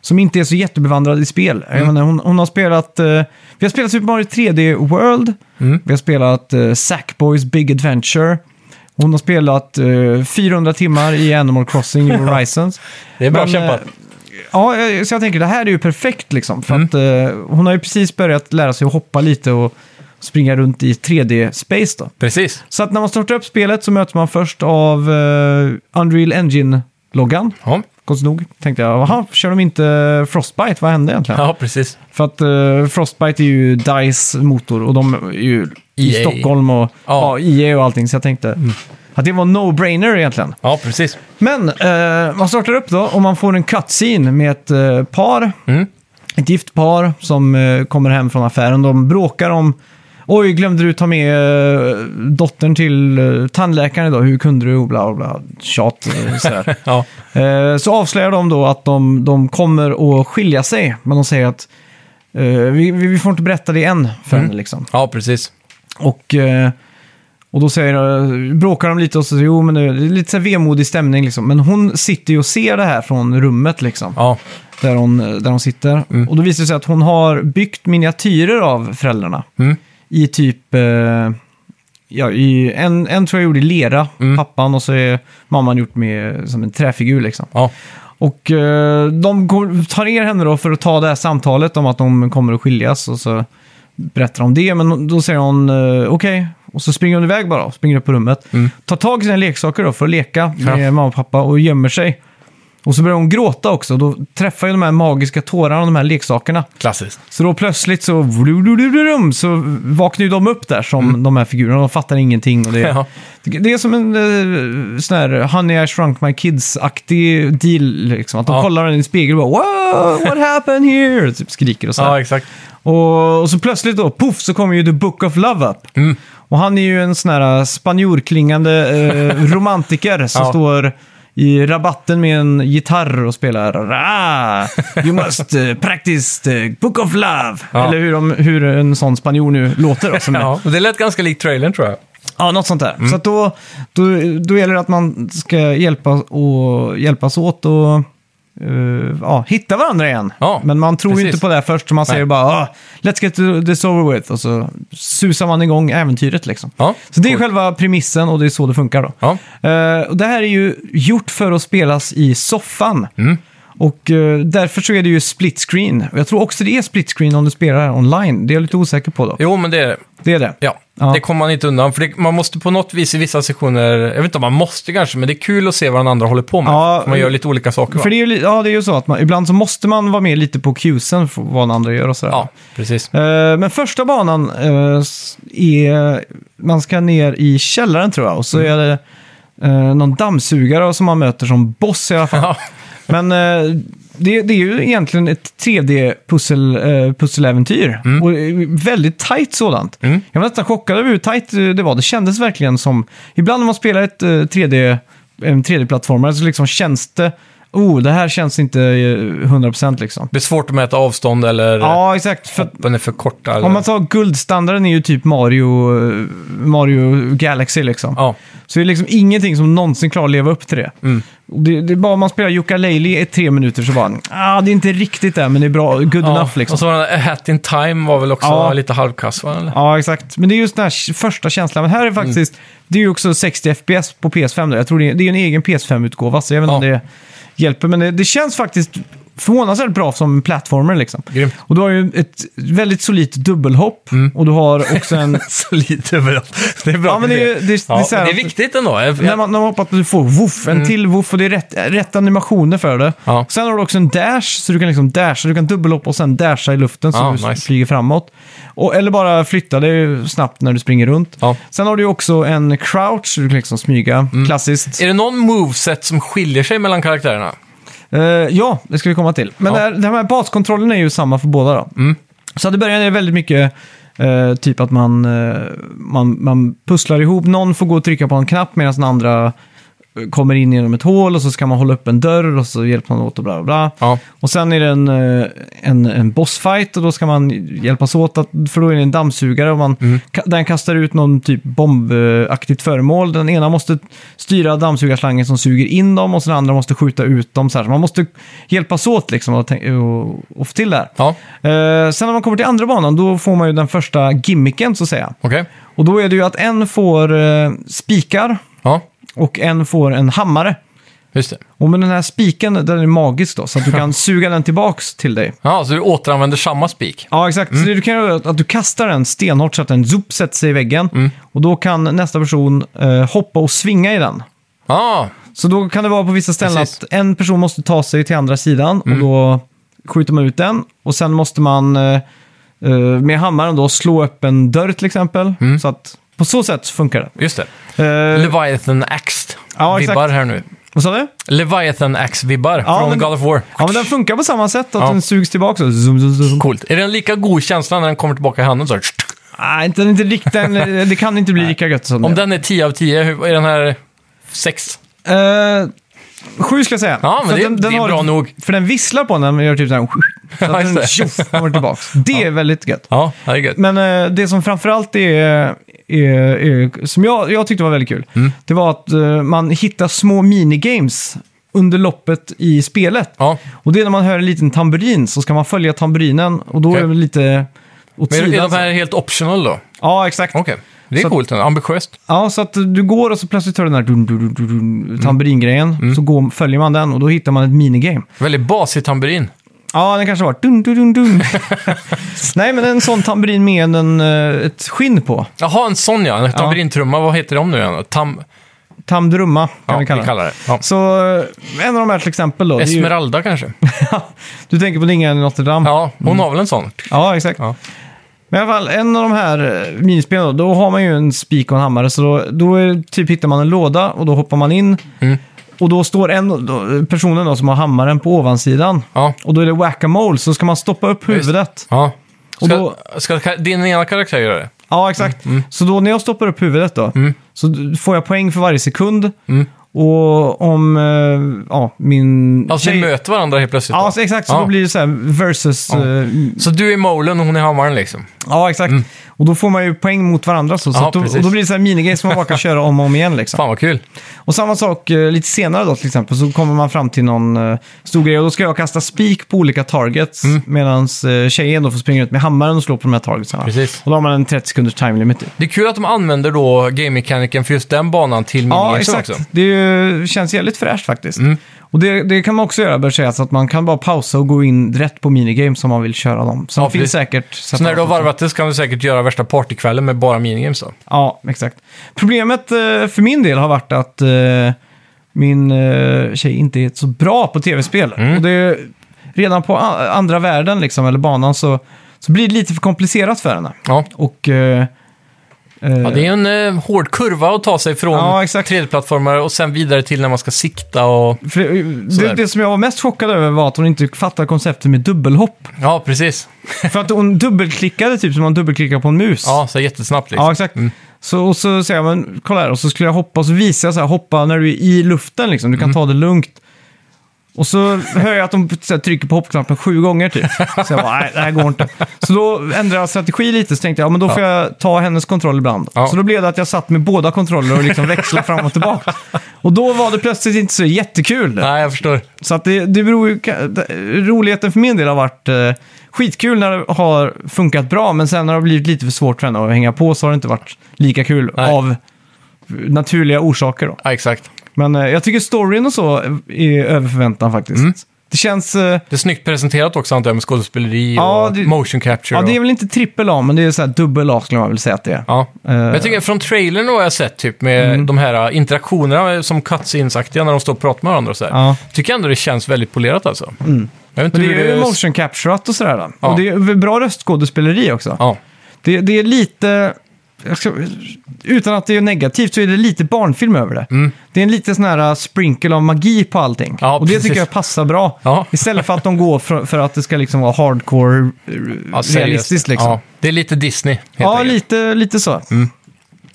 S1: Som inte är så jättebevandrad i spel. Jag
S2: Mm.
S1: menar, hon, hon har spelat... eh, vi har spelat Super Mario 3D World.
S2: Mm.
S1: Vi har spelat uh, Sackboys Big Adventure. Hon har spelat eh, 400 timmar i Animal Crossing
S2: [laughs]
S1: New Horizons.
S2: Det är bra
S1: Men,
S2: kämpat.
S1: eh, Ja, jag- så jag tänker det här är ju perfekt liksom.
S2: Mm.
S1: För att eh, hon har ju precis börjat lära sig att hoppa lite och springa runt i 3D-space då.
S2: Precis.
S1: Så att när man startar upp spelet så möts man först av eh, Unreal Engine-loggan.
S2: Ja,
S1: Konstigt nog tänkte jag, jaha, kör de inte Frostbite? Vad hände egentligen?
S2: ja precis.
S1: För att eh, Frostbite är ju DICE motor och de är ju i
S2: EA.
S1: Stockholm och ja.
S2: E Ja. Mm.
S1: EA och allting. Så jag tänkte att det var en no-brainer egentligen.
S2: Ja, precis.
S1: Men eh, man startar upp då och man får en cutscene med ett eh, par.
S2: Mm.
S1: Ett gift par som eh, kommer hem från affären. De bråkar om... Oj, glömde du ta med eh, dottern till eh, tandläkaren idag? Hur kunde du? Och Bla, bla, bla. Tjat. eh, sådär.
S2: Ja.
S1: Eh, Så avslöjar de då att de, de kommer att skilja sig. Men de säger att eh, vi, vi vi får inte berätta det än för henne. Liksom.
S2: ja, precis.
S1: Och, eh, och då säger, eh, bråkar de lite och så säger jo men det är lite så här vemodig stämning liksom. Men hon sitter ju och ser det här från rummet liksom.
S2: Ja,
S1: där hon, eh, där hon sitter. Och då visar det sig att hon har byggt miniatyrer av föräldrarna. I typ, eh, ja, i, en, en tror jag gjorde i lera, pappan, och så är mamman gjort med som en träfigur liksom.
S2: Ja.
S1: Och eh, de går, tar ner henne då för att ta det här samtalet om att de kommer att skiljas och så berättar om det. Men då säger hon eh, okej. Och så springer hon iväg bara, springer upp på rummet. Tar tag i sina leksaker då för att leka med
S2: Ja.
S1: mamma och pappa och gömmer sig. Och så börjar hon gråta också. Då träffar ju de här magiska tårarna de här leksakerna.
S2: Klassiskt.
S1: Så då plötsligt så, vlududududum, så vaknar ju de upp där som de här figurerna. De fattar ingenting. Och det,
S2: Mm. Ja.
S1: det är som en eh, sån här Honey I Shrunk My Kids-aktig deal. Liksom. Att de
S2: Ja.
S1: kollar in i spegeln och bara wow, what happened here? Typ skriker och så. här.
S2: Ja, exakt.
S1: Och, och så plötsligt då, poff, så kommer ju The Book of Love upp.
S2: Mm.
S1: Och han är ju en sån här eh, spanjorklingande
S2: [laughs]
S1: eh, romantiker som
S2: Ja.
S1: står i rabatten med en gitarr och spelar "Ra, You must eh, practice the Book of Love.
S2: Ja.
S1: Eller hur, de, hur en sån spanjor nu låter. Då, som är-
S2: Ja, och det lät ganska likt trailern tror jag.
S1: Ja, något sånt där.
S2: Mm.
S1: Så att då, då, då gäller det att man ska hjälpa och, hjälpas åt och eh, ja, hitta varandra igen.
S2: Ja,
S1: Men man tror ju
S2: precis.
S1: inte på det här först, så man säger bara "Ah, “Let's get this over with” och så susar man igång äventyret liksom.
S2: Ja,
S1: så det är
S2: coolt.
S1: själva premissen och det är så det funkar då.
S2: Ja.
S1: Eh, och det här är ju gjort för att spelas i soffan.
S2: Mm.
S1: Och eh, därför så är det ju split screen. Och Jag tror också det är split screen om du spelar här online. Det är jag lite osäker på då.
S2: Jo, men det är det.
S1: Det är det.
S2: Ja,
S1: Ja.
S2: det kommer man inte undan. För det, man måste på något vis i vissa sektioner, jag vet inte om man måste kanske, men det är kul att se vad den andra håller på med.
S1: Ja,
S2: man gör lite olika saker.
S1: För
S2: va?
S1: det är ju, li- ja, det är ju så att man, ibland så måste man vara med lite på cuesen för vad den andra gör och sådär.
S2: Ja, precis. [laughs]
S1: Eh, men första banan eh, s- är... Man ska ner i källaren tror jag och så är det eh, någon dammsugare som man möter som boss i alla fall.
S2: [laughs] Ja,
S1: Men eh, det, det är ju egentligen ett 3D-pusseläventyr. Eh, pusseläventyr. Och eh, väldigt tajt sådant. Jag var nästan chockad över hur tajt eh, det var. Det kändes verkligen som... Ibland när man spelar ett eh, 3D, en 3D-plattformare så liksom känns det... Oh, det här känns inte eh, 100% liksom.
S2: det är svårt att mäta avstånd eller
S1: Ja, exakt. För att
S2: hoppen är för korta. Eller...
S1: om man tar guldstandarden är ju typ Mario, eh, Mario Galaxy liksom.
S2: Ja,
S1: Så det är liksom ingenting som någonsin klarar att leva upp till det.
S2: Mm.
S1: Och Det, det är bara om man spelar Jukka i tre minuter så bara, ah, det är inte riktigt där men det är bra, good
S2: ja.
S1: enough liksom.
S2: och så var den där A Hat in Time var väl också
S1: Ja.
S2: lite halvkass, va? Eller?
S1: Ja, exakt. Men det är just den här första känslan. Men här
S2: Mm.
S1: är faktiskt, det är ju också 60 FPS på PS5 då. Jag tror det är, det är en egen PS5-utgåva, så jag vet inte om
S2: Ja.
S1: det hjälper. Men det, det känns faktiskt förvånansvärt bra som en plattformer liksom.
S2: Grymt. Mm.
S1: Och du har ju ett väldigt solitt dubbelhopp och du har också en...
S2: [laughs] Så lite överallt. Det är bra.
S1: Ja, men det är ju- det är- det är så
S2: ja,
S1: här
S2: men det är
S1: att-
S2: viktigt ändå. Jag,
S1: När man, när man hoppar att du får woof, en till woof och det är rätt, rätt animationer för det.
S2: Mm. Ja.
S1: Sen har du också en dash, så du kan liksom dasha, du kan dubbelhoppa och sen dasha i luften så
S2: Ja,
S1: du
S2: nice.
S1: flyger framåt. Och, eller bara flytta dig snabbt när du springer runt.
S2: Ja. Mm.
S1: Sen har du ju också en crouch, så du kan liksom smyga. Klassiskt.
S2: Är det någon moveset som skiljer sig mellan karaktärerna?
S1: Eh, ja, det ska vi komma till. Men
S2: Ja.
S1: det här, den här baskontrollen är ju samma för båda då. Så att i början är det väldigt mycket eh, typ att man, eh, man, man pusslar ihop. Någon får gå och trycka på en knapp medan den andra eh, kommer in genom ett hål och så ska man hålla upp en dörr och så hjälper man åt och bla bla bla.
S2: Ja.
S1: Och sen är det en, eh, en, en bossfight och då ska man hjälpas åt, att, för då är det en dammsugare och man, ka- den kastar ut någon typ bombaktigt föremål. Den ena måste styra dammsugarslangen som suger in dem och sen den andra måste skjuta ut dem. Så här. Så man måste hjälpas åt liksom och, tän- och, och få till det här.
S2: Ja,
S1: Eh, sen när man kommer till andra banan, då får man ju den första gimmicken så att säga.
S2: okej.
S1: Och då är det ju att en får eh, spikar
S2: Ja,
S1: och en får en hammare.
S2: just det.
S1: Och med den här spiken, den är magisk då, så att du
S2: [laughs]
S1: kan suga den tillbaks till dig.
S2: Ja, så du återanvänder samma spik?
S1: Ja, exakt.
S2: Mm.
S1: Så det du kan göra är att- att du kastar den stenhårt så att den zoop sätter sig i väggen.
S2: Mm.
S1: Och då kan nästa person eh, hoppa och svinga i den.
S2: Ja,
S1: Så då kan det vara på vissa ställen
S2: Precis. Mm.
S1: att en person måste ta sig till andra sidan och då skjuter man ut den. Och sen måste man eh, eh, med hammaren då slå upp en dörr till exempel.
S2: Mm.
S1: Så att på så sätt funkar det.
S2: just det.
S1: Eh,
S2: Leviathan Axe
S1: Ja, exakt.
S2: vibbar här nu.
S1: vad sa du?
S2: Leviathan Axe-vibbar
S1: Ja,
S2: från
S1: men-
S2: God of War.
S1: Ja, men den funkar på samma sätt, att
S2: Ja.
S1: den sugs tillbaka. Så zoom, zoom, zoom.
S2: Coolt. Är det en lika god känsla när den kommer tillbaka i handen? Så här,
S1: Nej, inte, inte riktigt. Den- Det kan inte bli lika gött som
S2: om
S1: det.
S2: den är 10 av 10, hur- är den här 6?
S1: Eh, sju ska jag säga.
S2: Ja, men
S1: För
S2: det-
S1: den, den
S2: det är
S1: har
S2: bra nog.
S1: För den visslar på när man gör typ så här... Så
S2: [laughs] Ja,
S1: att den
S2: just det.
S1: tjoff kommer
S2: [laughs]
S1: tillbaks. Det är väldigt gött.
S2: Ja, det är gött.
S1: Men eh, det som framförallt är, är,
S2: Mm.
S1: är som jag, jag tyckte var väldigt kul, det var att eh, man hittar små minigames under loppet i spelet.
S2: Ja.
S1: Och det är när man hör en liten tamburin så ska man följa tamburinen och då
S2: Okej.
S1: är det lite åt
S2: Men är
S1: sidan.
S2: de här helt optional då?
S1: Ja, exakt.
S2: Okej, det är
S1: alltså. Så-
S2: coolt. ändå. Ambitiöst.
S1: Ja, så att du går och så plötsligt hör du den här dun, dun, dun, dun,
S2: Mm.
S1: dun, tamburingrejen. Så går, följer man den och då hittar man ett minigame.
S2: Väldigt basig tamburin.
S1: Ja, den kanske var dun, dun, dun,
S2: [laughs]
S1: dun. Nej, men en sån tamburin med en, eh, ett skinn på.
S2: Jaha, en sån ja. En tamburintrumma. Vad heter de nu igen? då? Tam...
S1: Tamdrumma kan
S2: Ja,
S1: vi kalla det.
S2: det. Ja.
S1: Så eh, en av de här till exempel då. det är [laughs] ju-
S2: Esmeralda kanske?
S1: du tänker på Ningen i Notre Dame?
S2: Ja, hon har väl en sån?
S1: Ja, exakt.
S2: Ja.
S1: Men i alla fall, en av de här eh, minispelen då, då har man ju en spik och en hammare. Så då, då är, typ hittar man en låda och då hoppar man in.
S2: Mm.
S1: Och då står en då, personen då, som har hammaren på ovansidan.
S2: Ja.
S1: Och då är det whack-a-mole, så ska man stoppa upp
S2: just.
S1: huvudet.
S2: ja. Ska,
S1: Och då-
S2: ska ka- din ena karaktär göra det?
S1: Ja, exakt.
S2: Mm,
S1: Så då när jag stoppar upp huvudet då, så d- får jag poäng för varje sekund.
S2: Mm.
S1: Och om eh, ja, min...
S2: Alltså ni
S1: tjej-
S2: möter varandra helt plötsligt?
S1: Ja,
S2: då?
S1: så exakt. Så
S2: Ja.
S1: då blir det så här versus... eh, m-
S2: Så du är molen och hon är hammaren liksom?
S1: ja, exakt. Och då får man ju poäng mot varandra. Så, så
S2: Ja,
S1: att då, och
S2: precis.
S1: då blir det så här minigame som man bara kan köra om och om igen. Liksom.
S2: Fan vad kul.
S1: Och samma sak eh, lite senare då till exempel, så kommer man fram till någon eh, stor grej och då ska jag kasta spik på olika targets
S2: Mm.
S1: medan tjejen då får springa ut med hammaren och slå på de här targetsen.
S2: Precis.
S1: Och då har man en 30 sekunders time limit. Typ.
S2: Det är kul att de använder då game-mekaniken för just den banan
S1: Ja,
S2: till minigamesen
S1: exakt.
S2: också. Mm.
S1: Det är ju, känns jävligt fräscht faktiskt. Och det, det kan man också göra, bör sägas, att man kan bara pausa och gå in rätt på minigames om man vill köra dem. Så
S2: Ja,
S1: det finns
S2: precis.
S1: säkert...
S2: Så när du har varvat det så kan du säkert göra värsta partykvällen med bara minigames då.
S1: Ja, exakt. Problemet eh, för min del har varit att eh, min eh, tjej inte är så bra på tv-spel.
S2: Mm.
S1: Och det är, redan på a- andra världen, liksom, eller banan, så, så blir det lite för komplicerat för henne.
S2: Ja.
S1: Och... Eh, eh,
S2: Ja, det är en eh, hård kurva att ta sig från
S1: Ja, exakt.
S2: 3D-plattformar och sen vidare till när man ska sikta och...
S1: för det,
S2: Sådär.
S1: det, det som jag var mest chockad över var att hon inte fattade konceptet med
S2: [laughs]
S1: dubbelhopp.
S2: Ja, precis.
S1: för att hon dubbelklickade typ som man dubbelklickar på en mus.
S2: Ja, så jättesnabbt liksom.
S1: Ja, exakt. Så, och så säger jag, men kolla här, och så skulle jag hoppa, och så visar jag så här, hoppa när du är i luften liksom, du
S2: Mm.
S1: kan ta det lugnt. Och så hör jag att de så här, trycker på hoppknappen sju gånger typ. Så jag bara, nej, det här går inte. Så då ändrade jag strategi lite, så tänkte jag, ja men då får jag ta hennes kontroll ibland.
S2: Ja.
S1: Så då blev det att jag satt med båda kontroller och liksom växlade fram och tillbaka. Och då var det plötsligt inte så jättekul.
S2: Nej, jag förstår.
S1: Så att det, det beror ju, ka- det- roligheten för min del har varit eh, skitkul när det har funkat bra, men sen när det har blivit lite för svårt för henne att hänga på så har det inte varit lika kul
S2: Nej.
S1: av naturliga orsaker. Då.
S2: Ja, exakt.
S1: Men eh, jag tycker storyn och så är över förväntan faktiskt.
S2: Mm.
S1: Det känns... Eh,
S2: Det är snyggt presenterat också antar jag med skådespeleri
S1: Ja,
S2: och
S1: det-
S2: motion capture.
S1: ja, det är
S2: och...
S1: väl inte trippel A, men det är så här dubbel A skulle man väl säga att det är.
S2: ja. Men
S1: Eh, Mm.
S2: jag tycker från trailern och vad jag sett typ med de här eh, interaktionerna som cutscenes-aktiga när de står och pratar med varandra och sådär.
S1: Ja. Mm.
S2: Tycker ändå det känns väldigt polerat alltså. Jag vet inte
S1: men det
S2: hur
S1: är ju motion capturat och sådär. Då.
S2: Ja.
S1: Och det är bra röstskådespeleri också.
S2: Ja.
S1: Det, det är lite... Jag ska, utan att det är negativt så är det lite barnfilm över det. Det är en liten sån här uh, sprinkle av magi på allting.
S2: Mm. Ja,
S1: och det
S2: precis.
S1: tycker jag passar bra.
S2: Ja.
S1: Istället för att de går för, för att det ska liksom vara hardcore eh,
S2: Ja, seriöst.
S1: realistiskt. Liksom.
S2: Ja,
S1: Ja,
S2: det är lite Disney helt enkelt. Mm.
S1: lite, lite så.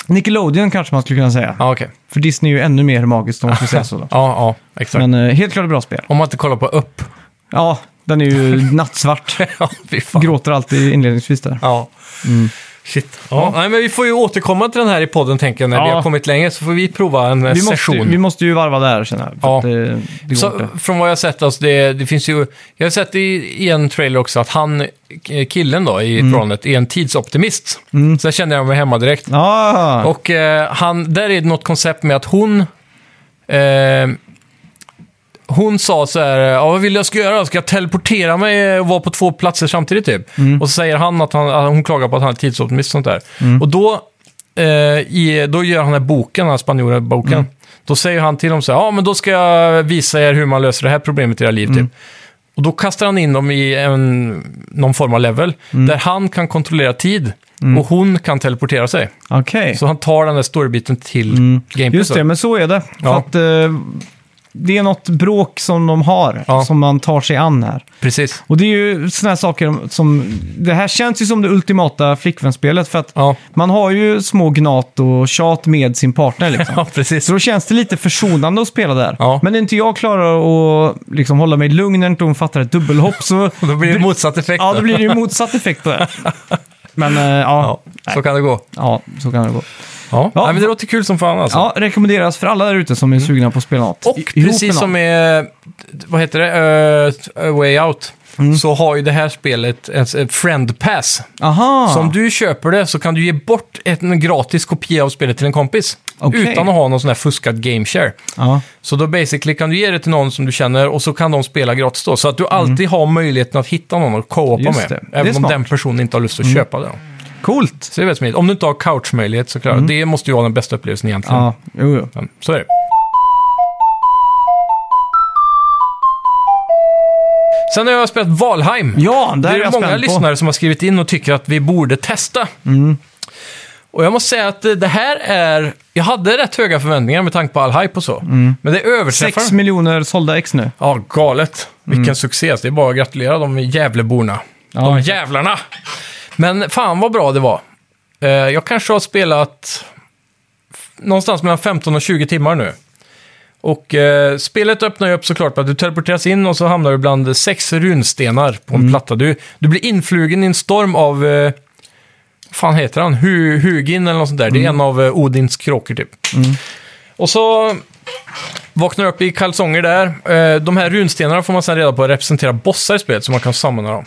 S1: Nickelodeon kanske man skulle kunna säga.
S2: Ja, okej.
S1: För Disney är ju ännu mer magiskt om man skulle säga
S2: [laughs]
S1: så. Då.
S2: Ja, ja, exakt.
S1: Men eh, helt klart ett bra spel.
S2: Om man inte kollar på upp. [laughs]
S1: Ja, den är ju nattsvart.
S2: ja, fy fan.
S1: Gråter alltid inledningsvis där.
S2: Ja.
S1: Mm.
S2: Shit. Ja. Nej, men vi får ju återkomma till den här i podden, tänker jag, när vi
S1: Ja.
S2: har kommit längre. Så får vi prova en eh,
S1: Vi måste,
S2: session.
S1: vi måste ju varva där känner jag. för
S2: Ja.
S1: att det, det går
S2: Så,
S1: inte.
S2: från vad jag har sett, alltså det, det finns ju... Jag har sett i, i en trailer också att han, k- killen då,
S1: Mm.
S2: i förhållandet, är en tidsoptimist. Så där kände jag mig hemma direkt.
S1: Ah.
S2: Och eh, han, där är det något koncept med att hon... Eh, hon sa så här, eh, ja, vad vill jag ska göra? Ska jag teleportera mig och vara på två platser samtidigt typ? Och så säger han att, han att hon klagar på att han är tidsoptimist och sånt där. Och då, eh, i, då gör han den här boken, den här spanjora-boken. Då säger han till dem så här, ja men då ska jag visa er hur man löser det här problemet i era liv typ. Och då kastar han in dem i en, någon form av level, där han kan kontrollera tid och hon kan teleportera sig.
S1: Okej.
S2: [laughs] Så han tar den där storybiten till Game
S1: Mm. Just det, men så är det. För
S2: Ja.
S1: att, eh, det är något bråk som de har,
S2: Ja.
S1: som man tar sig an här.
S2: Precis.
S1: Och det är ju sådana här saker som... Det här känns ju som det ultimata flickvänsspelet för att
S2: Ja. [laughs]
S1: man har ju små gnat och tjat med sin partner
S2: [laughs]
S1: liksom.
S2: ja, precis.
S1: Så då känns det lite försonande att spela där.
S2: Ja.
S1: Men när inte jag klarar att liksom hålla mig lugn när inte hon fattar ett dubbelhopp så...
S2: Då blir [laughs] det motsatt effekt.
S1: ja, då blir
S2: [laughs]
S1: det ju motsatt effekt på det. Men eh, ja,
S2: ja, så kan det gå.
S1: ja, så kan det gå.
S2: Ja.
S1: Ja.
S2: Nej, men det låter kul som fan alltså.
S1: Ja, rekommenderas för alla där ute som är sugna på att spela något.
S2: Mm. Och
S1: I- ihop med
S2: precis som
S1: någon.
S2: med, vad heter det, Eh, A Way Out,
S1: Mm.
S2: så har ju det här spelet ett, ett friend pass.
S1: Aha!
S2: Så om du köper det så kan du ge bort ett, en gratis kopia av spelet till en kompis.
S1: Okej.
S2: Utan att ha någon sån här fuskad game share.
S1: Ja.
S2: Så då basically kan du ge det till någon som du känner och så kan de spela gratis då. Så att du alltid har möjligheten att hitta någon att co-opa
S1: Mm. Just
S2: med.
S1: det. Det är
S2: Även om
S1: smart. Mm.
S2: den personen inte har lust att köpa det. då.
S1: Coolt!
S2: Så det är väldigt smidigt. Om du inte har couchmöjlighet så klart. Det måste ju vara den bästa upplevelsen egentligen.
S1: Mm. Ja, jo, jo.
S2: Men så är det. Sen har jag spelat Valheim.
S1: Ja, där
S2: det
S1: är
S2: är
S1: jag
S2: många
S1: spänd på. Mm.
S2: lyssnare som har skrivit in och tycker att vi borde testa. Och jag måste säga att eh, det här är... Jag hade rätt höga förväntningar med tanke på all hype och så. Men det överträffar...
S1: Mm. Sex miljoner sålda ex nu.
S2: Ja, galet. Vilken succé. Så Det är bara att gratulera de Gävleborna. de
S1: verkligen.
S2: jävlarna! Men fan vad bra det var. Eh, Jag kanske har spelat f- någonstans mellan 15 och 20 timmar nu. Och eh, spelet öppnar ju upp såklart på att du teleporteras in och så hamnar du bland sex runstenar på en platta. Du, du blir influgen i en storm av, eh, vad fan heter han? Hu, Hugin eller något sånt där. Det är en av eh, Odins kråkor typ. Och så vaknar upp i kalsonger där. Eh, De här runstenarna får man sen reda på representerar bossar i spelet, så man kan samla dem.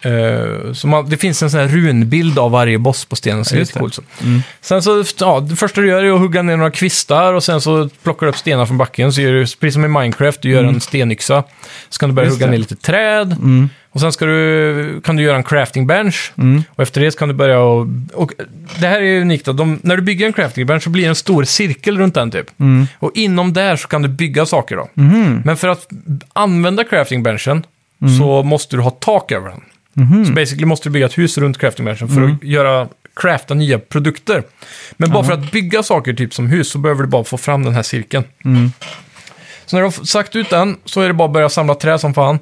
S2: Eh, Så man, det finns en sån här runbild av varje boss på stenen, så det är
S1: Just
S2: lite
S1: det. Mm.
S2: coolt. Så. Sen så, ja, det första du gör är att hugga ner några kvistar och sen så plockar du upp stenar från backen. Så gör du, precis som i Minecraft, du gör en stenyxa. Så kan du börja
S1: Mm. Just
S2: hugga
S1: det. Mm.
S2: ner lite träd. Och sen ska du, kan du göra en crafting bench. Och efter det så kan du börja och, och Det här är ju unikt. då. De, när du bygger en crafting bench så blir det en stor cirkel runt den typ.
S1: Mm.
S2: Och inom där så kan du bygga saker då.
S1: Mhm.
S2: Men för att använda crafting benchen så måste du ha tak över den. Så basically måste du bygga ett hus runt crafting benchen för att göra crafta nya produkter. Men bara för att bygga saker typ som hus så behöver du bara få fram den här cirkeln. Så när du har sagt ut den så är det bara att börja samla trä som fan.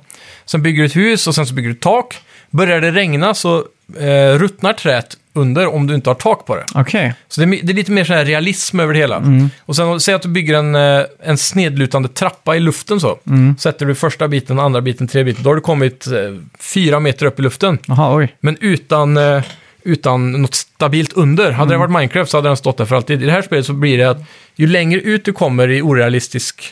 S2: Sen bygger du ett hus och sen så bygger du ett tak. Börjar det regna så eh, ruttnar träet under om du inte har tak på det.
S1: Okej.
S2: Så det är, mi- det är lite mer så här realism över det hela. Och sen säg att du bygger en, eh, en snedlutande trappa i luften så. Sätter du första biten, andra biten, tredje biten. Då har du kommit eh, fyra meter upp i luften.
S1: Jaha, oj.
S2: Men utan, eh, utan något stabilt under. Hade det varit Minecraft så hade den stått där för alltid. I det här spelet så blir det att ju längre ut du kommer i orealistisk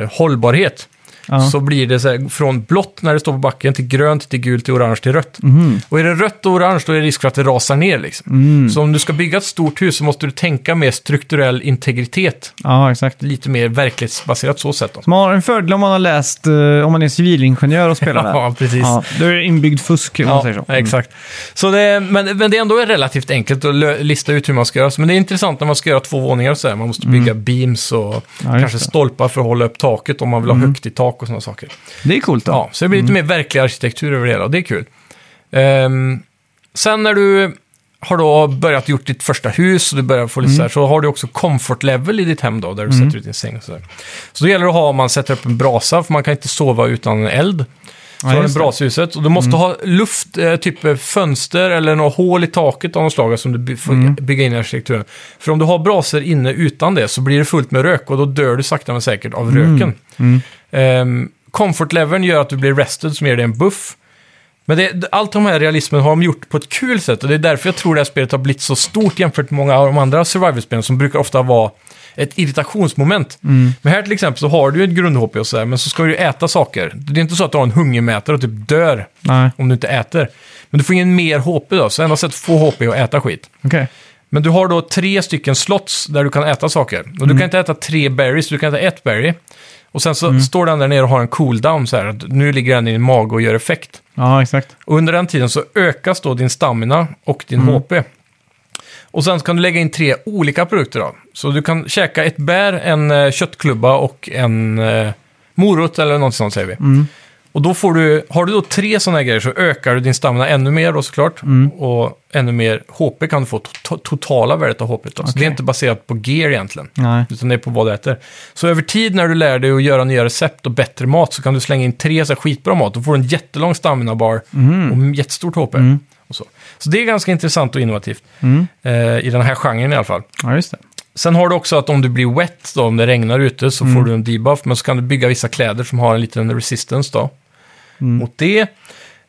S2: eh, hållbarhet
S1: Mm. Ja.
S2: så blir det så här, från blått när det står på backen till grönt, till gult, till orange, till rött.
S1: Mhm.
S2: Och är det rött och orange då är det risk för att det rasar ner. Liksom.
S1: Mm.
S2: Så om du ska bygga ett stort hus så måste du tänka mer strukturell integritet.
S1: Ja, exakt.
S2: Lite mer verklighetsbaserat så sätt. alltså. Då.
S1: Man har en fördel om man har läst, eh, om man är civilingenjör och spelar där.
S2: [laughs] Ja, precis.
S1: Ja, då är det inbyggd fusk, om man säger så. Mm.
S2: Ja, exakt. Så det, men, men det är ändå relativt enkelt att lö- lista ut hur man ska göra. Så- Men det är intressant när man ska göra två våningar och så här. Man måste bygga beams och
S1: Mm. just
S2: kanske
S1: det. Mm.
S2: stolpar för att hålla upp taket om man vill ha högt i tak och sådana saker.
S1: Det är coolt då. Mm.
S2: Ja, så det blir lite mer verklig arkitektur över det hela och det är kul. Ehm, sen när du har då börjat gjort ditt första hus och du börjar få lite
S1: Mm.
S2: så här, så har du också comfort level i ditt hem då, där du sätter ut din säng och så där. Så då gäller det att ha, om man sätter upp en brasa, för man kan inte sova utan en eld. Så
S1: Ja,
S2: har du
S1: just det. Mm.
S2: brashuset och du måste ha luft, eh, typ fönster eller några hål i taket av något slag som du by- får
S1: Mm.
S2: bygga in i arkitekturen. För om du har brasor inne utan det så blir det fullt med rök och då dör du sakta men säkert av
S1: Mm.
S2: röken. Um, Comfort-leveln gör att du blir rested som ger dig en buff. Men det, allt de här realismen har de gjort på ett kul sätt och det är därför jag tror det här spelet har blivit så stort jämfört med många av de andra survival-spelen som brukar ofta vara ett irritationsmoment. Men här till exempel så har du ju ett grund-HP och sådär, men så ska du ju äta saker. Det är inte så att du har en hungermätare och typ dör
S1: Nej,
S2: om du inte äter. Men du får ingen mer HP då, så enda sättet att få HP är att äta skit.
S1: okej.
S2: Men du har då tre stycken slots där du kan äta saker. Och du kan inte äta tre berries, du kan äta ett berry. Och sen så står den där nere och har en cooldown så här. att Nu ligger den i din mage och gör effekt.
S1: Ja, exakt.
S2: Och under den tiden så ökas då din stamina och din HP. Och sen kan du lägga in tre olika produkter då. Så du kan käka ett bär, en eh, köttklubba och en eh, morot eller något sånt säger vi. Och då får du, har du då tre sådana här grejer så ökar du din stamina ännu mer då såklart. Och ännu mer HP kan du få, to- totala värdet av HP. Då. Så det
S1: Okej.
S2: är inte baserat på gear egentligen.
S1: Nej.
S2: Utan det är på vad du äter. Så över tid när du lär dig att göra nya recept och bättre mat så kan du slänga in tre så här skitbra mat. Då får du en jättelång stamina-bar och jättestort HP. Och så. så det är ganska intressant och innovativt. Eh, I den här genren i alla fall.
S1: Ja, just det.
S2: Sen har du också att om du blir wet, då, om det regnar ute, så får du en debuff. Men så kan du bygga vissa kläder som har en liten resistance då, mot det.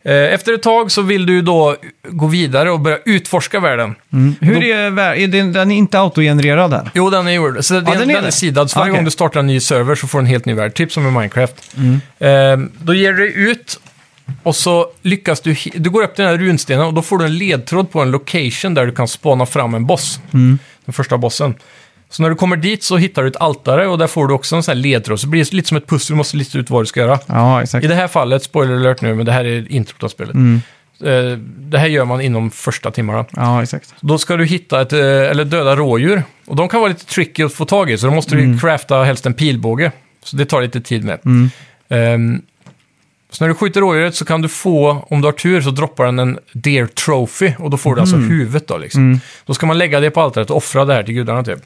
S2: Eh, Efter ett tag så vill du då gå vidare och börja utforska världen.
S1: Mm. Hur är, vär- är den, den är inte autogenererad här?
S2: Jo, den är gjord. Så den,
S1: den är
S2: den, är
S1: det.
S2: sidad. Så varje
S1: Okej.
S2: gång du startar en ny server så får du en helt ny värld. Typ som i Minecraft.
S1: Mm.
S2: Eh, då ger du dig ut och så lyckas du... hi- Du går upp till den här runstenen och då får du en ledtråd på en location där du kan spana fram en boss.
S1: Mm.
S2: Den första bossen. Så när du kommer dit så hittar du ett altare och där får du också en sån här ledtråd. Så det blir det lite som ett pussel, du måste lista ut vad du ska göra.
S1: Ja, Mm.
S2: I
S1: exakt.
S2: det här fallet, spoiler alert nu, men det här är introt av spelet. Eh, det här gör man inom första timmarna.
S1: Ja, exakt.
S2: Då ska du hitta ett, eh, eller döda rådjur. Och de kan vara lite tricky att få tag i, så då måste du crafta helst en pilbåge. Så det tar lite tid med. Ehm, så när du skjuter rådjuret så kan du få, om du har tur, så droppar den en deer trophy. Och då får du alltså huvudet då liksom. Då ska man lägga det på altaret och offra det här till gudarna typ.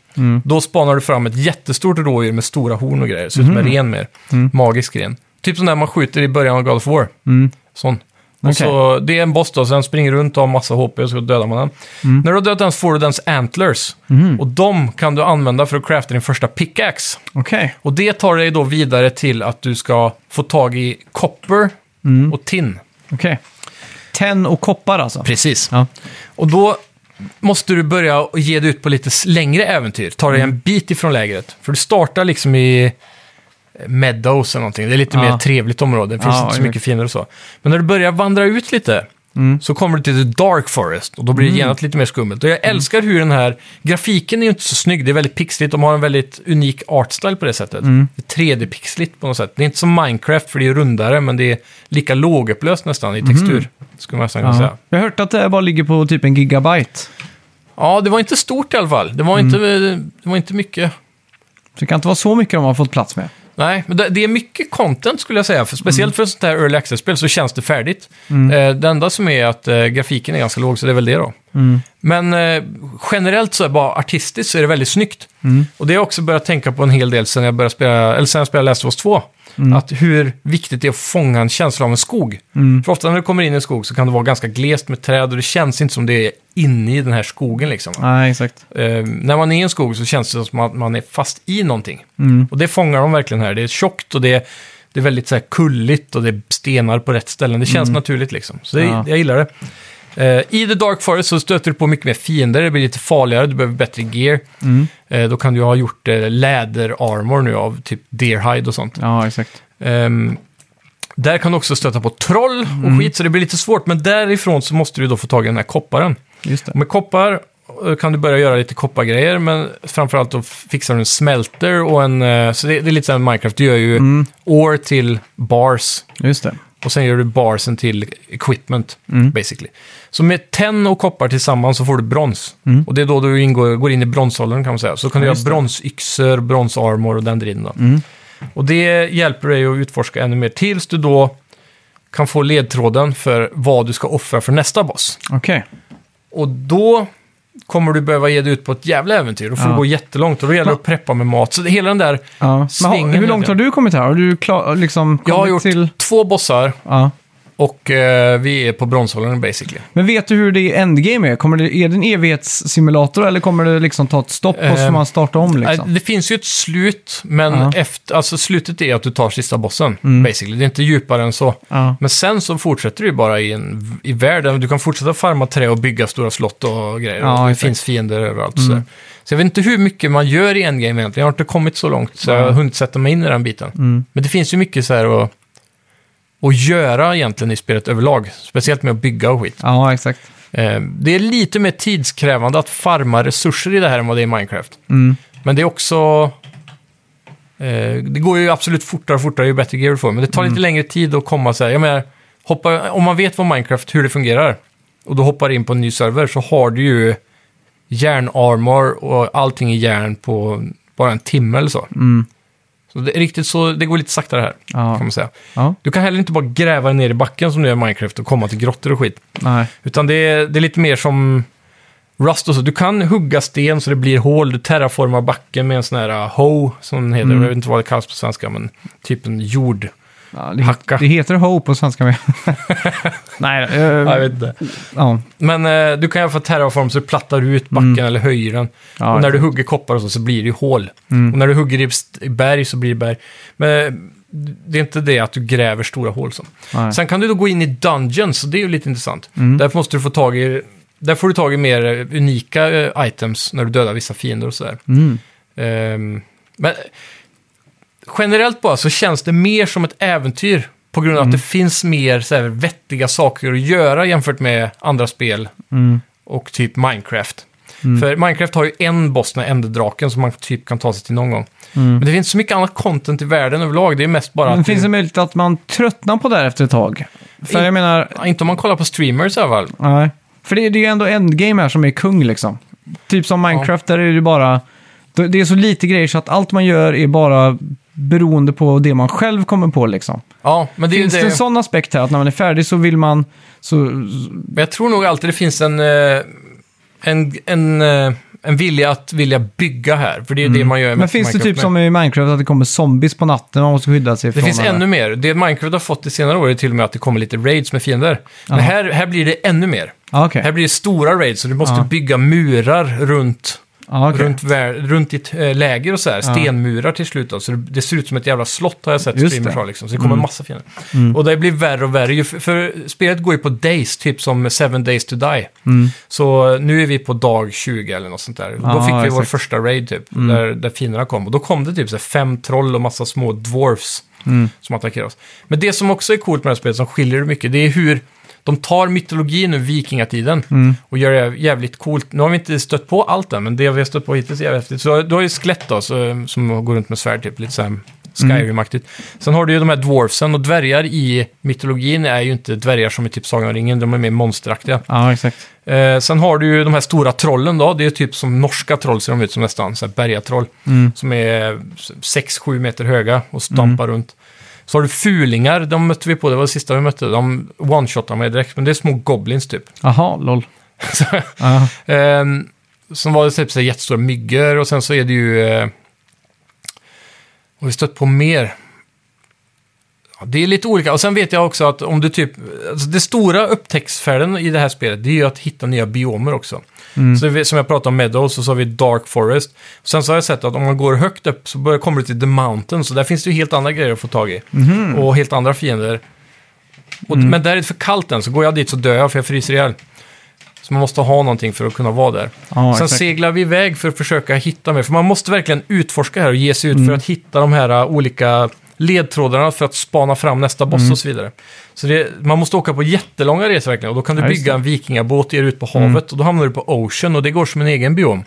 S2: Då spanar du fram ett jättestort rådjur med stora horn och grejer. Ser ut som en ren mer. Magisk ren. Typ som där man skjuter i början av God of War. Sån. Och
S1: Okej.
S2: så, det är en boss då, så den springer runt och har massa HP och så dödar man den. När du har dödat den så får du dens antlers. Och de kan du använda för att crafta din första pickaxe.
S1: Okej.
S2: Och det tar dig då vidare till att du ska få tag i copper och tin.
S1: Okej. Tenn och koppar alltså?
S2: Precis.
S1: Ja.
S2: Och då måste du börja och ge dig ut på lite s- längre äventyr. Ta dig
S1: Mm.
S2: en bit ifrån lägret. För du startar liksom i eh, Meadows eller någonting. Det är lite
S1: Ja.
S2: mer trevligt område. Det finns
S1: Ja,
S2: inte så
S1: exakt.
S2: mycket finare och så. Men när du börjar vandra ut lite
S1: Mm.
S2: så kommer du till The Dark Forest. Och då blir det genast lite mer skummelt. Och jag
S1: Mm.
S2: älskar hur den här... Grafiken är ju inte så snygg. Det är väldigt pixligt. De har en väldigt unik artstyle på det sättet.
S1: Mm.
S2: Det är 3D-pixligt på något sätt. Det är inte som Minecraft för det är rundare. Men det är lika lågupplöst nästan i textur. Skulle man nästan kunna säga.
S1: Mm. Ja. Jag har hört att det här bara ligger på typ en gigabyte.
S2: Ja, det var inte stort i alla fall. Det var, inte, det var inte mycket.
S1: Så det kan inte vara så mycket de har fått plats med.
S2: Nej, men det, det är mycket content skulle jag säga. För, speciellt för ett sånt här early access-spel så känns det färdigt. Eh, det enda som är att eh, grafiken är ganska låg, så det är väl det då. Men eh, generellt så är bara artistiskt så är det väldigt snyggt. Och det har jag också börjat tänka på en hel del sen jag började spela, eller sen jag spelade Last of Us 2. Att hur viktigt det är att fånga en känsla av en skog.
S1: Mm.
S2: För ofta när du kommer in i en skog så kan det vara ganska glest med träd och det känns inte som det är inne i den här skogen liksom.
S1: Nej, exakt.
S2: Eh, när man är i en skog så känns det som att man är fast i någonting.
S1: Mm.
S2: Och det fångar de verkligen här. Det är tjockt och det är, det är väldigt så här kulligt och det är stenar på rätt ställen. Det känns naturligt liksom. Så det,
S1: Ja.
S2: jag gillar det. Eh, I The Dark Forest så stöter du på mycket mer fiender. Det blir lite farligare, du behöver bättre gear.
S1: Mm.
S2: Eh, då kan du ha gjort eh, läderarmor nu av typ deerhide och sånt.
S1: Ja, exakt.
S2: Ehm, där kan du också stöta på troll och skit, så det blir lite svårt. Men därifrån så måste du då få tag i den här kopparen.
S1: Just det.
S2: Och Med koppar eh, kan du börja göra lite koppargrejer, men framförallt då fixar du en smälter och en... eh, Så det, det är lite som Minecraft, du gör ju
S1: Mm.
S2: ore till bars
S1: Just det.
S2: och sen gör du barsen till equipment,
S1: Mm.
S2: basically. Så med tenn och koppar tillsammans så får du brons. Och det är då du ingår, går in i bronsåldern kan man säga. Så kan
S1: Mm. Ja,
S2: du göra
S1: just det. Mm.
S2: bronsyxor, bronsarmor och den driden då. Och det hjälper dig att utforska ännu mer tills du då kan få ledtråden för vad du ska offra för nästa boss.
S1: Okej.
S2: Och då kommer du behöva ge dig ut på ett jävla äventyr. Då får
S1: Ja.
S2: du gå jättelångt och då gäller det att preppa med mat. Så det, hela den där...
S1: Ja. Men
S2: Svingen
S1: har, hur
S2: heter
S1: långt
S2: det.
S1: har du kommit här? Har du klar, liksom kommit
S2: Jag har gjort
S1: till...
S2: två bossar
S1: Ja.
S2: och eh, vi är på bronsåldern basically.
S1: Men vet du hur det i endgame är? Kommer det, är det en evighetssimulator eller kommer det liksom ta ett stopp och så får
S2: Eh,
S1: man starta om
S2: Nej,
S1: liksom?
S2: Det finns ju ett slut, men
S1: Ja. Mm.
S2: efter, alltså slutet är att du tar sista bossen basically. Det är inte djupare än så.
S1: Ja.
S2: Men sen så fortsätter du ju bara i, en, i världen. Du kan fortsätta farma trä och bygga stora slott och grejer.
S1: Ja,
S2: och det
S1: exakt. Mm.
S2: finns fiender överallt. och sådär. Så jag vet inte hur mycket man gör i Endgame egentligen. Jag har inte kommit så långt så jag har hunnit sätta mig in i den biten.
S1: Mm.
S2: Men det finns ju mycket så här att, att göra egentligen i spelet överlag. Speciellt med att bygga och skit.
S1: Ja, exakt.
S2: Eh, Det är lite mer tidskrävande att farma resurser i det här än vad det är i Minecraft.
S1: Mm.
S2: Men det är också... Eh, det går ju absolut fortare och fortare ju bättre gear du får, men det tar lite längre tid att komma så här. Jag menar, hoppa, om man vet vad Minecraft, hur det fungerar, och du hoppar in på en ny server så har du ju järnarmor och allting i järn på bara en timme eller så. Så det, är riktigt så, det går lite saktare här,
S1: Ja.
S2: kan man säga.
S1: Ja,
S2: Du kan heller inte bara gräva ner i backen som du gör i Minecraft och komma till grottor och skit.
S1: nej.
S2: Utan det är, det är lite mer som Rust och så. Du kan hugga sten så det blir hål. Du terraformar backen med en sån här uh, hoe, som den heter.
S1: Mm.
S2: Jag vet inte vad det kallas på svenska, men typ en jord.
S1: Ja, det,
S2: Hacka.
S1: det heter Ho på svenska
S2: [laughs]
S1: med. nej, eh,
S2: Ja, jag vet inte.
S1: ja.
S2: Men eh, du kan i alla fall terraforma så du plattar ut backen eller höjer den.
S1: Mm. Ja,
S2: och när du
S1: exakt. Mm.
S2: hugger koppar och så, så blir det ju hål. Och när du hugger i st- i berg så blir det berg. Men eh, det är inte det att du gräver stora hål som.
S1: Nej.
S2: Sen kan du då gå in i dungeons, och det är ju lite intressant.
S1: Mm.
S2: Där måste du få tag i... Där får du tag i mer eh, unika eh, items när du dödar vissa fiender och sådär.
S1: Mm.
S2: Ehm, men generellt bara så känns det mer som ett äventyr på grund av
S1: Mm.
S2: att det finns mer så här, vettiga saker att göra jämfört med andra spel
S1: Mm.
S2: och typ Minecraft. För Minecraft har ju en boss, den här ändedraken, som man typ kan ta sig till någon gång. Men det finns inte så mycket annat content i världen överlag. Det är mest bara
S1: Mm. Men
S2: att...
S1: finns
S2: det,
S1: det möjlighet att man tröttnar på det här efter ett tag? För
S2: I-
S1: jag menar,
S2: Ja, Inte om man kollar på streamers i alla fall.
S1: nej. För det, det är ju ändå endgame här som är kung liksom. Typ som Minecraft, där är det bara... det- Det är så lite grejer så att allt man gör är bara beroende på det man själv kommer på liksom.
S2: Ja, men det, är ju
S1: Finns det en
S2: det,
S1: sån aspekt här att när man är färdig så vill man... Så,
S2: men jag tror nog alltid det finns en, eh, en, en, eh, en vilja att vilja bygga här. För det är det man gör
S1: men finns det
S2: Minecraft
S1: typ
S2: med.
S1: som i Minecraft att det kommer zombies på natten och man måste skydda sig
S2: Det
S1: från...
S2: finns ännu mer. Det Minecraft har fått i senare år är till och med att det kommer lite raids med fiender. Men
S1: Aha.
S2: här, här blir det ännu mer.
S1: Ah, okej.
S2: Här blir det stora raids och du måste
S1: Ja.
S2: bygga murar runt,
S1: Ah, okej.
S2: runt, vär- runt ditt eh, läger och så här. Stenmurar till slut. Då. Så det, det ser ut som ett jävla slott har jag sett
S1: Just
S2: streamers
S1: det. Mm.
S2: ha. Liksom. Så det kommer massa fiender. Och det blir värre och värre. ju f- För spelet går ju på days, typ som Seven Days to Die. Så nu är vi på dag 20 eller något sånt där. Och då
S1: Ja,
S2: fick vi vår
S1: exakt. Mm.
S2: första raid typ, där, där fienderna kom. Och då kom det typ så här fem troll och massa små dwarfs
S1: Mm.
S2: som attackerade oss. Men det som också är coolt med det här spelet, som skiljer det mycket, det är hur de tar mytologin ur vikingatiden
S1: Mm.
S2: och gör det jävligt coolt. Nu har vi inte stött på allt än, men det vi har stött på hittills är jävligt häftigt. Så du har ju skelett då, så, som går runt med svärd typ, lite så här Skyrim-aktigt.
S1: Mm.
S2: Sen har du ju de här dwarfsen och dvärgar i mytologin är ju inte dvärgar som i typ Sagan om ringen, de är mer monsteraktiga.
S1: Ja, exakt.
S2: Eh, sen har du ju de här stora trollen då. Det är typ som norska troll ser de ut som nästan. Så här bergatroll. Som är 6-7 meter höga och stampar runt. Så har du fulingar, de mötte vi på. Det var det sista vi mötte. De one-shotade mig direkt. Men det är små goblins typ.
S1: Jaha, lol.
S2: [laughs] Så,
S1: Ja.
S2: eh, som var det typ så här jättestora myggor. Och sen så är det ju... Eh, och vi stött på mer. Ja, det är lite olika. Och sen vet jag också att om du typ... Alltså det stora upptäcktsfärden i det här spelet, det är ju att hitta nya biomer också. Så det, vi- som jag pratade om Meadows och så har vi Dark Forest. Sen så har jag sett att om man går högt upp så börjar, kommer du till The Mountain. Så där finns det ju helt andra grejer att få tag i. Och helt andra fiender. Och, Men där är det för kallt än, så går jag dit så dör jag för jag fryser ihjäl. Så man måste ha någonting för att kunna vara där.
S1: Ja,
S2: Sen
S1: exakt.
S2: seglar vi iväg för att försöka hitta mer. För man måste verkligen utforska här och ge sig ut
S1: Mm.
S2: för att hitta de här ä, olika ledtrådarna för att spana fram nästa boss
S1: Mm.
S2: och så vidare. Så det, man måste åka på jättelånga resor verkligen. Och då kan du
S1: Ja, just
S2: bygga
S1: det. Mm.
S2: en vikingabåt och ge dig ut på havet. Och då hamnar du på Ocean och det går som en egen biom.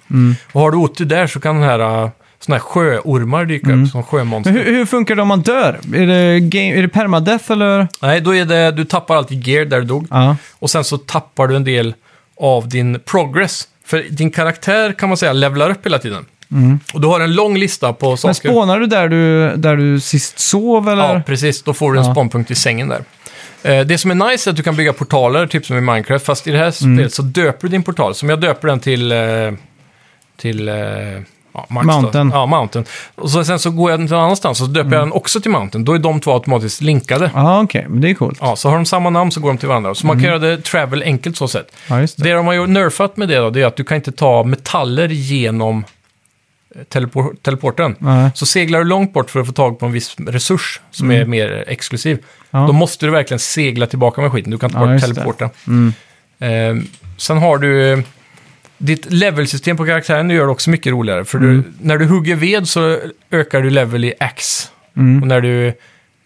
S2: Och har du otur där så kan den här ä, såna här sjöormar dyka upp som sjömonster.
S1: Mm. Men hur, hur funkar det om man dör? Är det, game, är det permadeath eller?
S2: Nej, då är det, du tappar alltid gear där du dog.
S1: Ja.
S2: Och sen så tappar du en del av din progress. För din karaktär kan man säga levlar upp hela tiden. Och du har en lång lista på
S1: Mm. Men
S2: saker.
S1: spånar du där du, där du sist sov eller?
S2: Ja, precis. Då får du en
S1: Ja.
S2: spawnpunkt i sängen där. Eh, Det som är nice är att du kan bygga portaler, typ som i Minecraft. Fast i det här
S1: Mm.
S2: spelet så döper du din portal. Som jag döper den till... eh, Till... eh, Ja, Max då.
S1: Mountain. Mm.
S2: Ja, Mountain. Och så, sen så går jag till någon annanstans och så döper jag den också till Mountain. Då är de två automatiskt linkade.
S1: Ja, okej. Men det är coolt.
S2: Ja, så har de samma namn så går de till varandra. Så man kan
S1: Mm.
S2: göra det travel enkelt så sätt.
S1: Ja, just det.
S2: Det de har ju nerfat med det då, det är att du kan inte ta metaller genom eh, telepor- teleporten.
S1: Nej.
S2: Så seglar du långt bort för att få tag på en viss resurs som är mer exklusiv,
S1: Mm. Ja.
S2: då måste du verkligen segla tillbaka med skiten. Du kan inte
S1: Ja,
S2: bara
S1: just det.
S2: teleporta.
S1: Mm.
S2: Eh, sen har du... eh, Ditt levelsystem på karaktären gör det också mycket roligare. För
S1: Mm.
S2: du, när du hugger ved så ökar du level i ax. Och när du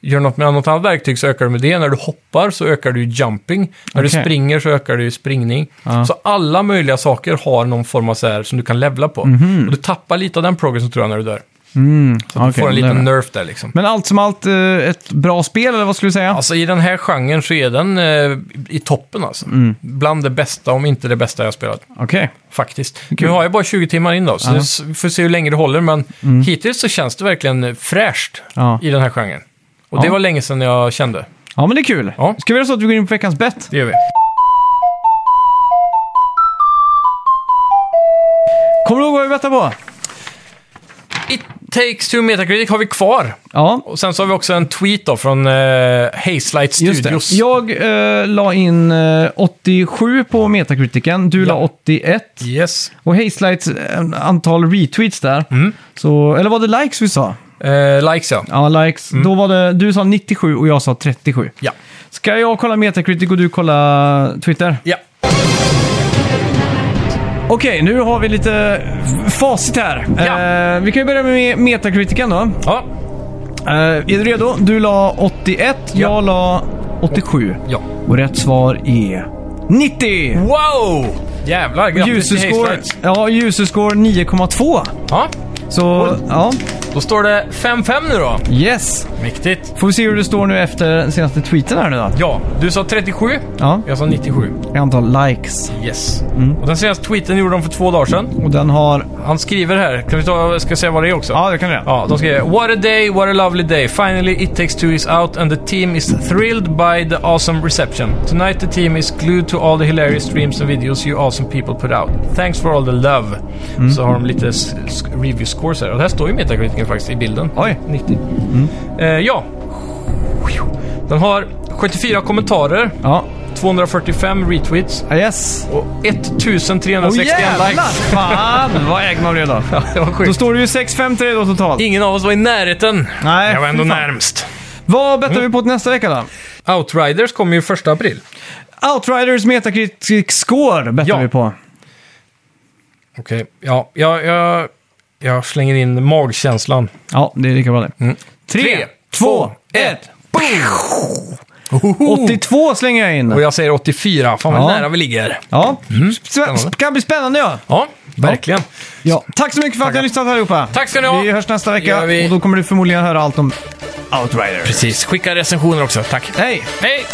S2: gör något med något annat verktyg så ökar du med det. När du hoppar så ökar du jumping. När du
S1: Okej.
S2: springer så ökar du springning.
S1: Ja.
S2: Så alla möjliga saker har någon form av så här som du kan levla på. Och du tappar lite av den progressen tror jag när du dör.
S1: Mm,
S2: Så att du
S1: Mhm. okej,
S2: får en
S1: det är
S2: liten
S1: det.
S2: nerf där liksom.
S1: Men allt som allt eh, ett bra spel eller vad skulle du säga?
S2: Alltså i den här genren så är den eh, i toppen alltså.
S1: Mm.
S2: Bland det bästa, om inte det bästa jag har spelat.
S1: Okej.
S2: Faktiskt. Nu har jag bara 20 timmar in då, så
S1: Ja. Mm.
S2: det s- vi får se hur länge det håller. Men hittills så känns det verkligen eh, fräscht
S1: Ja.
S2: i den här genren. Och det
S1: Ja.
S2: var länge sedan jag kände.
S1: ja, men det är kul.
S2: Ja.
S1: Ska vi göra så att vi går in på veckans bett?
S2: Det gör vi.
S1: Kommer du ihåg vad vi bettade på?
S2: It takes two Metacritic har vi kvar.
S1: Ja,
S2: Och sen så har vi också en tweet då från eh,
S1: just
S2: Hazelight
S1: det.
S2: Studios.
S1: Jag eh, la in eh, 87 på Metacriticen, du
S2: Ja.
S1: la 81.
S2: Yes. Mm.
S1: Och Hazelights eh, antal retweets där. Så, eller var det likes vi sa?
S2: Eh, likes ja.
S1: Ja, likes. Då var det, du sa 97 och jag sa 37.
S2: Mm. Ja.
S1: Ska jag kolla Metacritic och du kolla Twitter?
S2: Ja.
S1: Okej, nu har vi lite facit här.
S2: Ja.
S1: Eh, vi kan ju börja med Metacriticen då.
S2: Ja.
S1: Eh, är du redo? Du la 81, jag la 87.
S2: ja.
S1: Och rätt svar är 90!
S2: Wow! Jävlar, grattis till
S1: User-score
S2: Hayflights.
S1: ja, user score 9,2.
S2: Ja,
S1: Så, ja.
S2: då står det 5-5 nu då.
S1: Yes.
S2: Mäktigt.
S1: Får vi se hur det står nu efter den senaste tweeten här nu då.
S2: Ja, du sa 37.
S1: Ja,
S2: Jag sa 97.
S1: i antal likes.
S2: Yes.
S1: Mm.
S2: Och den senaste tweeten gjorde de för två dagar sedan.
S1: Och den har...
S2: Han skriver här, kan vi ta, ska jag säga vad det är också?
S1: Ja, det kan du göra.
S2: Ja, de skriver “What a day, what a lovely day. Finally it takes two is out and the team is thrilled by the awesome reception. Tonight the team is glued to all the hilarious streams and videos you awesome people put out. Thanks for all the love.”
S1: Mm.
S2: Så har de lite s- s- review scores här. Och där står ju Metacriticen faktiskt i bilden.
S1: Oj. Mm.
S2: 90. Eh, ja. Den har 74 kommentarer,
S1: Ja.
S2: 245 retweets
S1: Ja, Yes.
S2: och 1361
S1: Åh jävlar!
S2: likes.
S1: [laughs] Fan vad ägg man blev då.
S2: Det var
S1: Då
S2: sjukt.
S1: står det ju 6-5 till dig då totalt.
S2: Ingen av oss var i närheten.
S1: Nej,
S2: jag var ändå
S1: fy fan.
S2: närmst.
S1: Vad
S2: Mm.
S1: bettar vi på till nästa vecka då?
S2: Outriders kommer ju första april.
S1: Outriders Metacritic score bettar
S2: Ja.
S1: vi på.
S2: Okej, ja, jag, jag, jag slänger in magkänslan.
S1: Ja, det är lika bra det. Tre,
S2: Mm. Tre,
S1: två, ett.
S2: Ohoho!
S1: 82 slänger jag
S2: Och
S1: in.
S2: jag Mm. säger 84, fan vad
S1: Ja.
S2: nära vi ligger.
S1: Ja, Spä- kan bli spännande ja.
S2: Ja, verkligen.
S1: Ja. Tack så mycket för att ni har lyssnat allihopa.
S2: Tack ska ni ha.
S1: Vi hörs nästa vecka
S2: Gör vi.
S1: och då kommer du förmodligen höra allt om Outriders.
S2: Precis, skicka recensioner också, tack.
S1: Hej!
S2: Hej!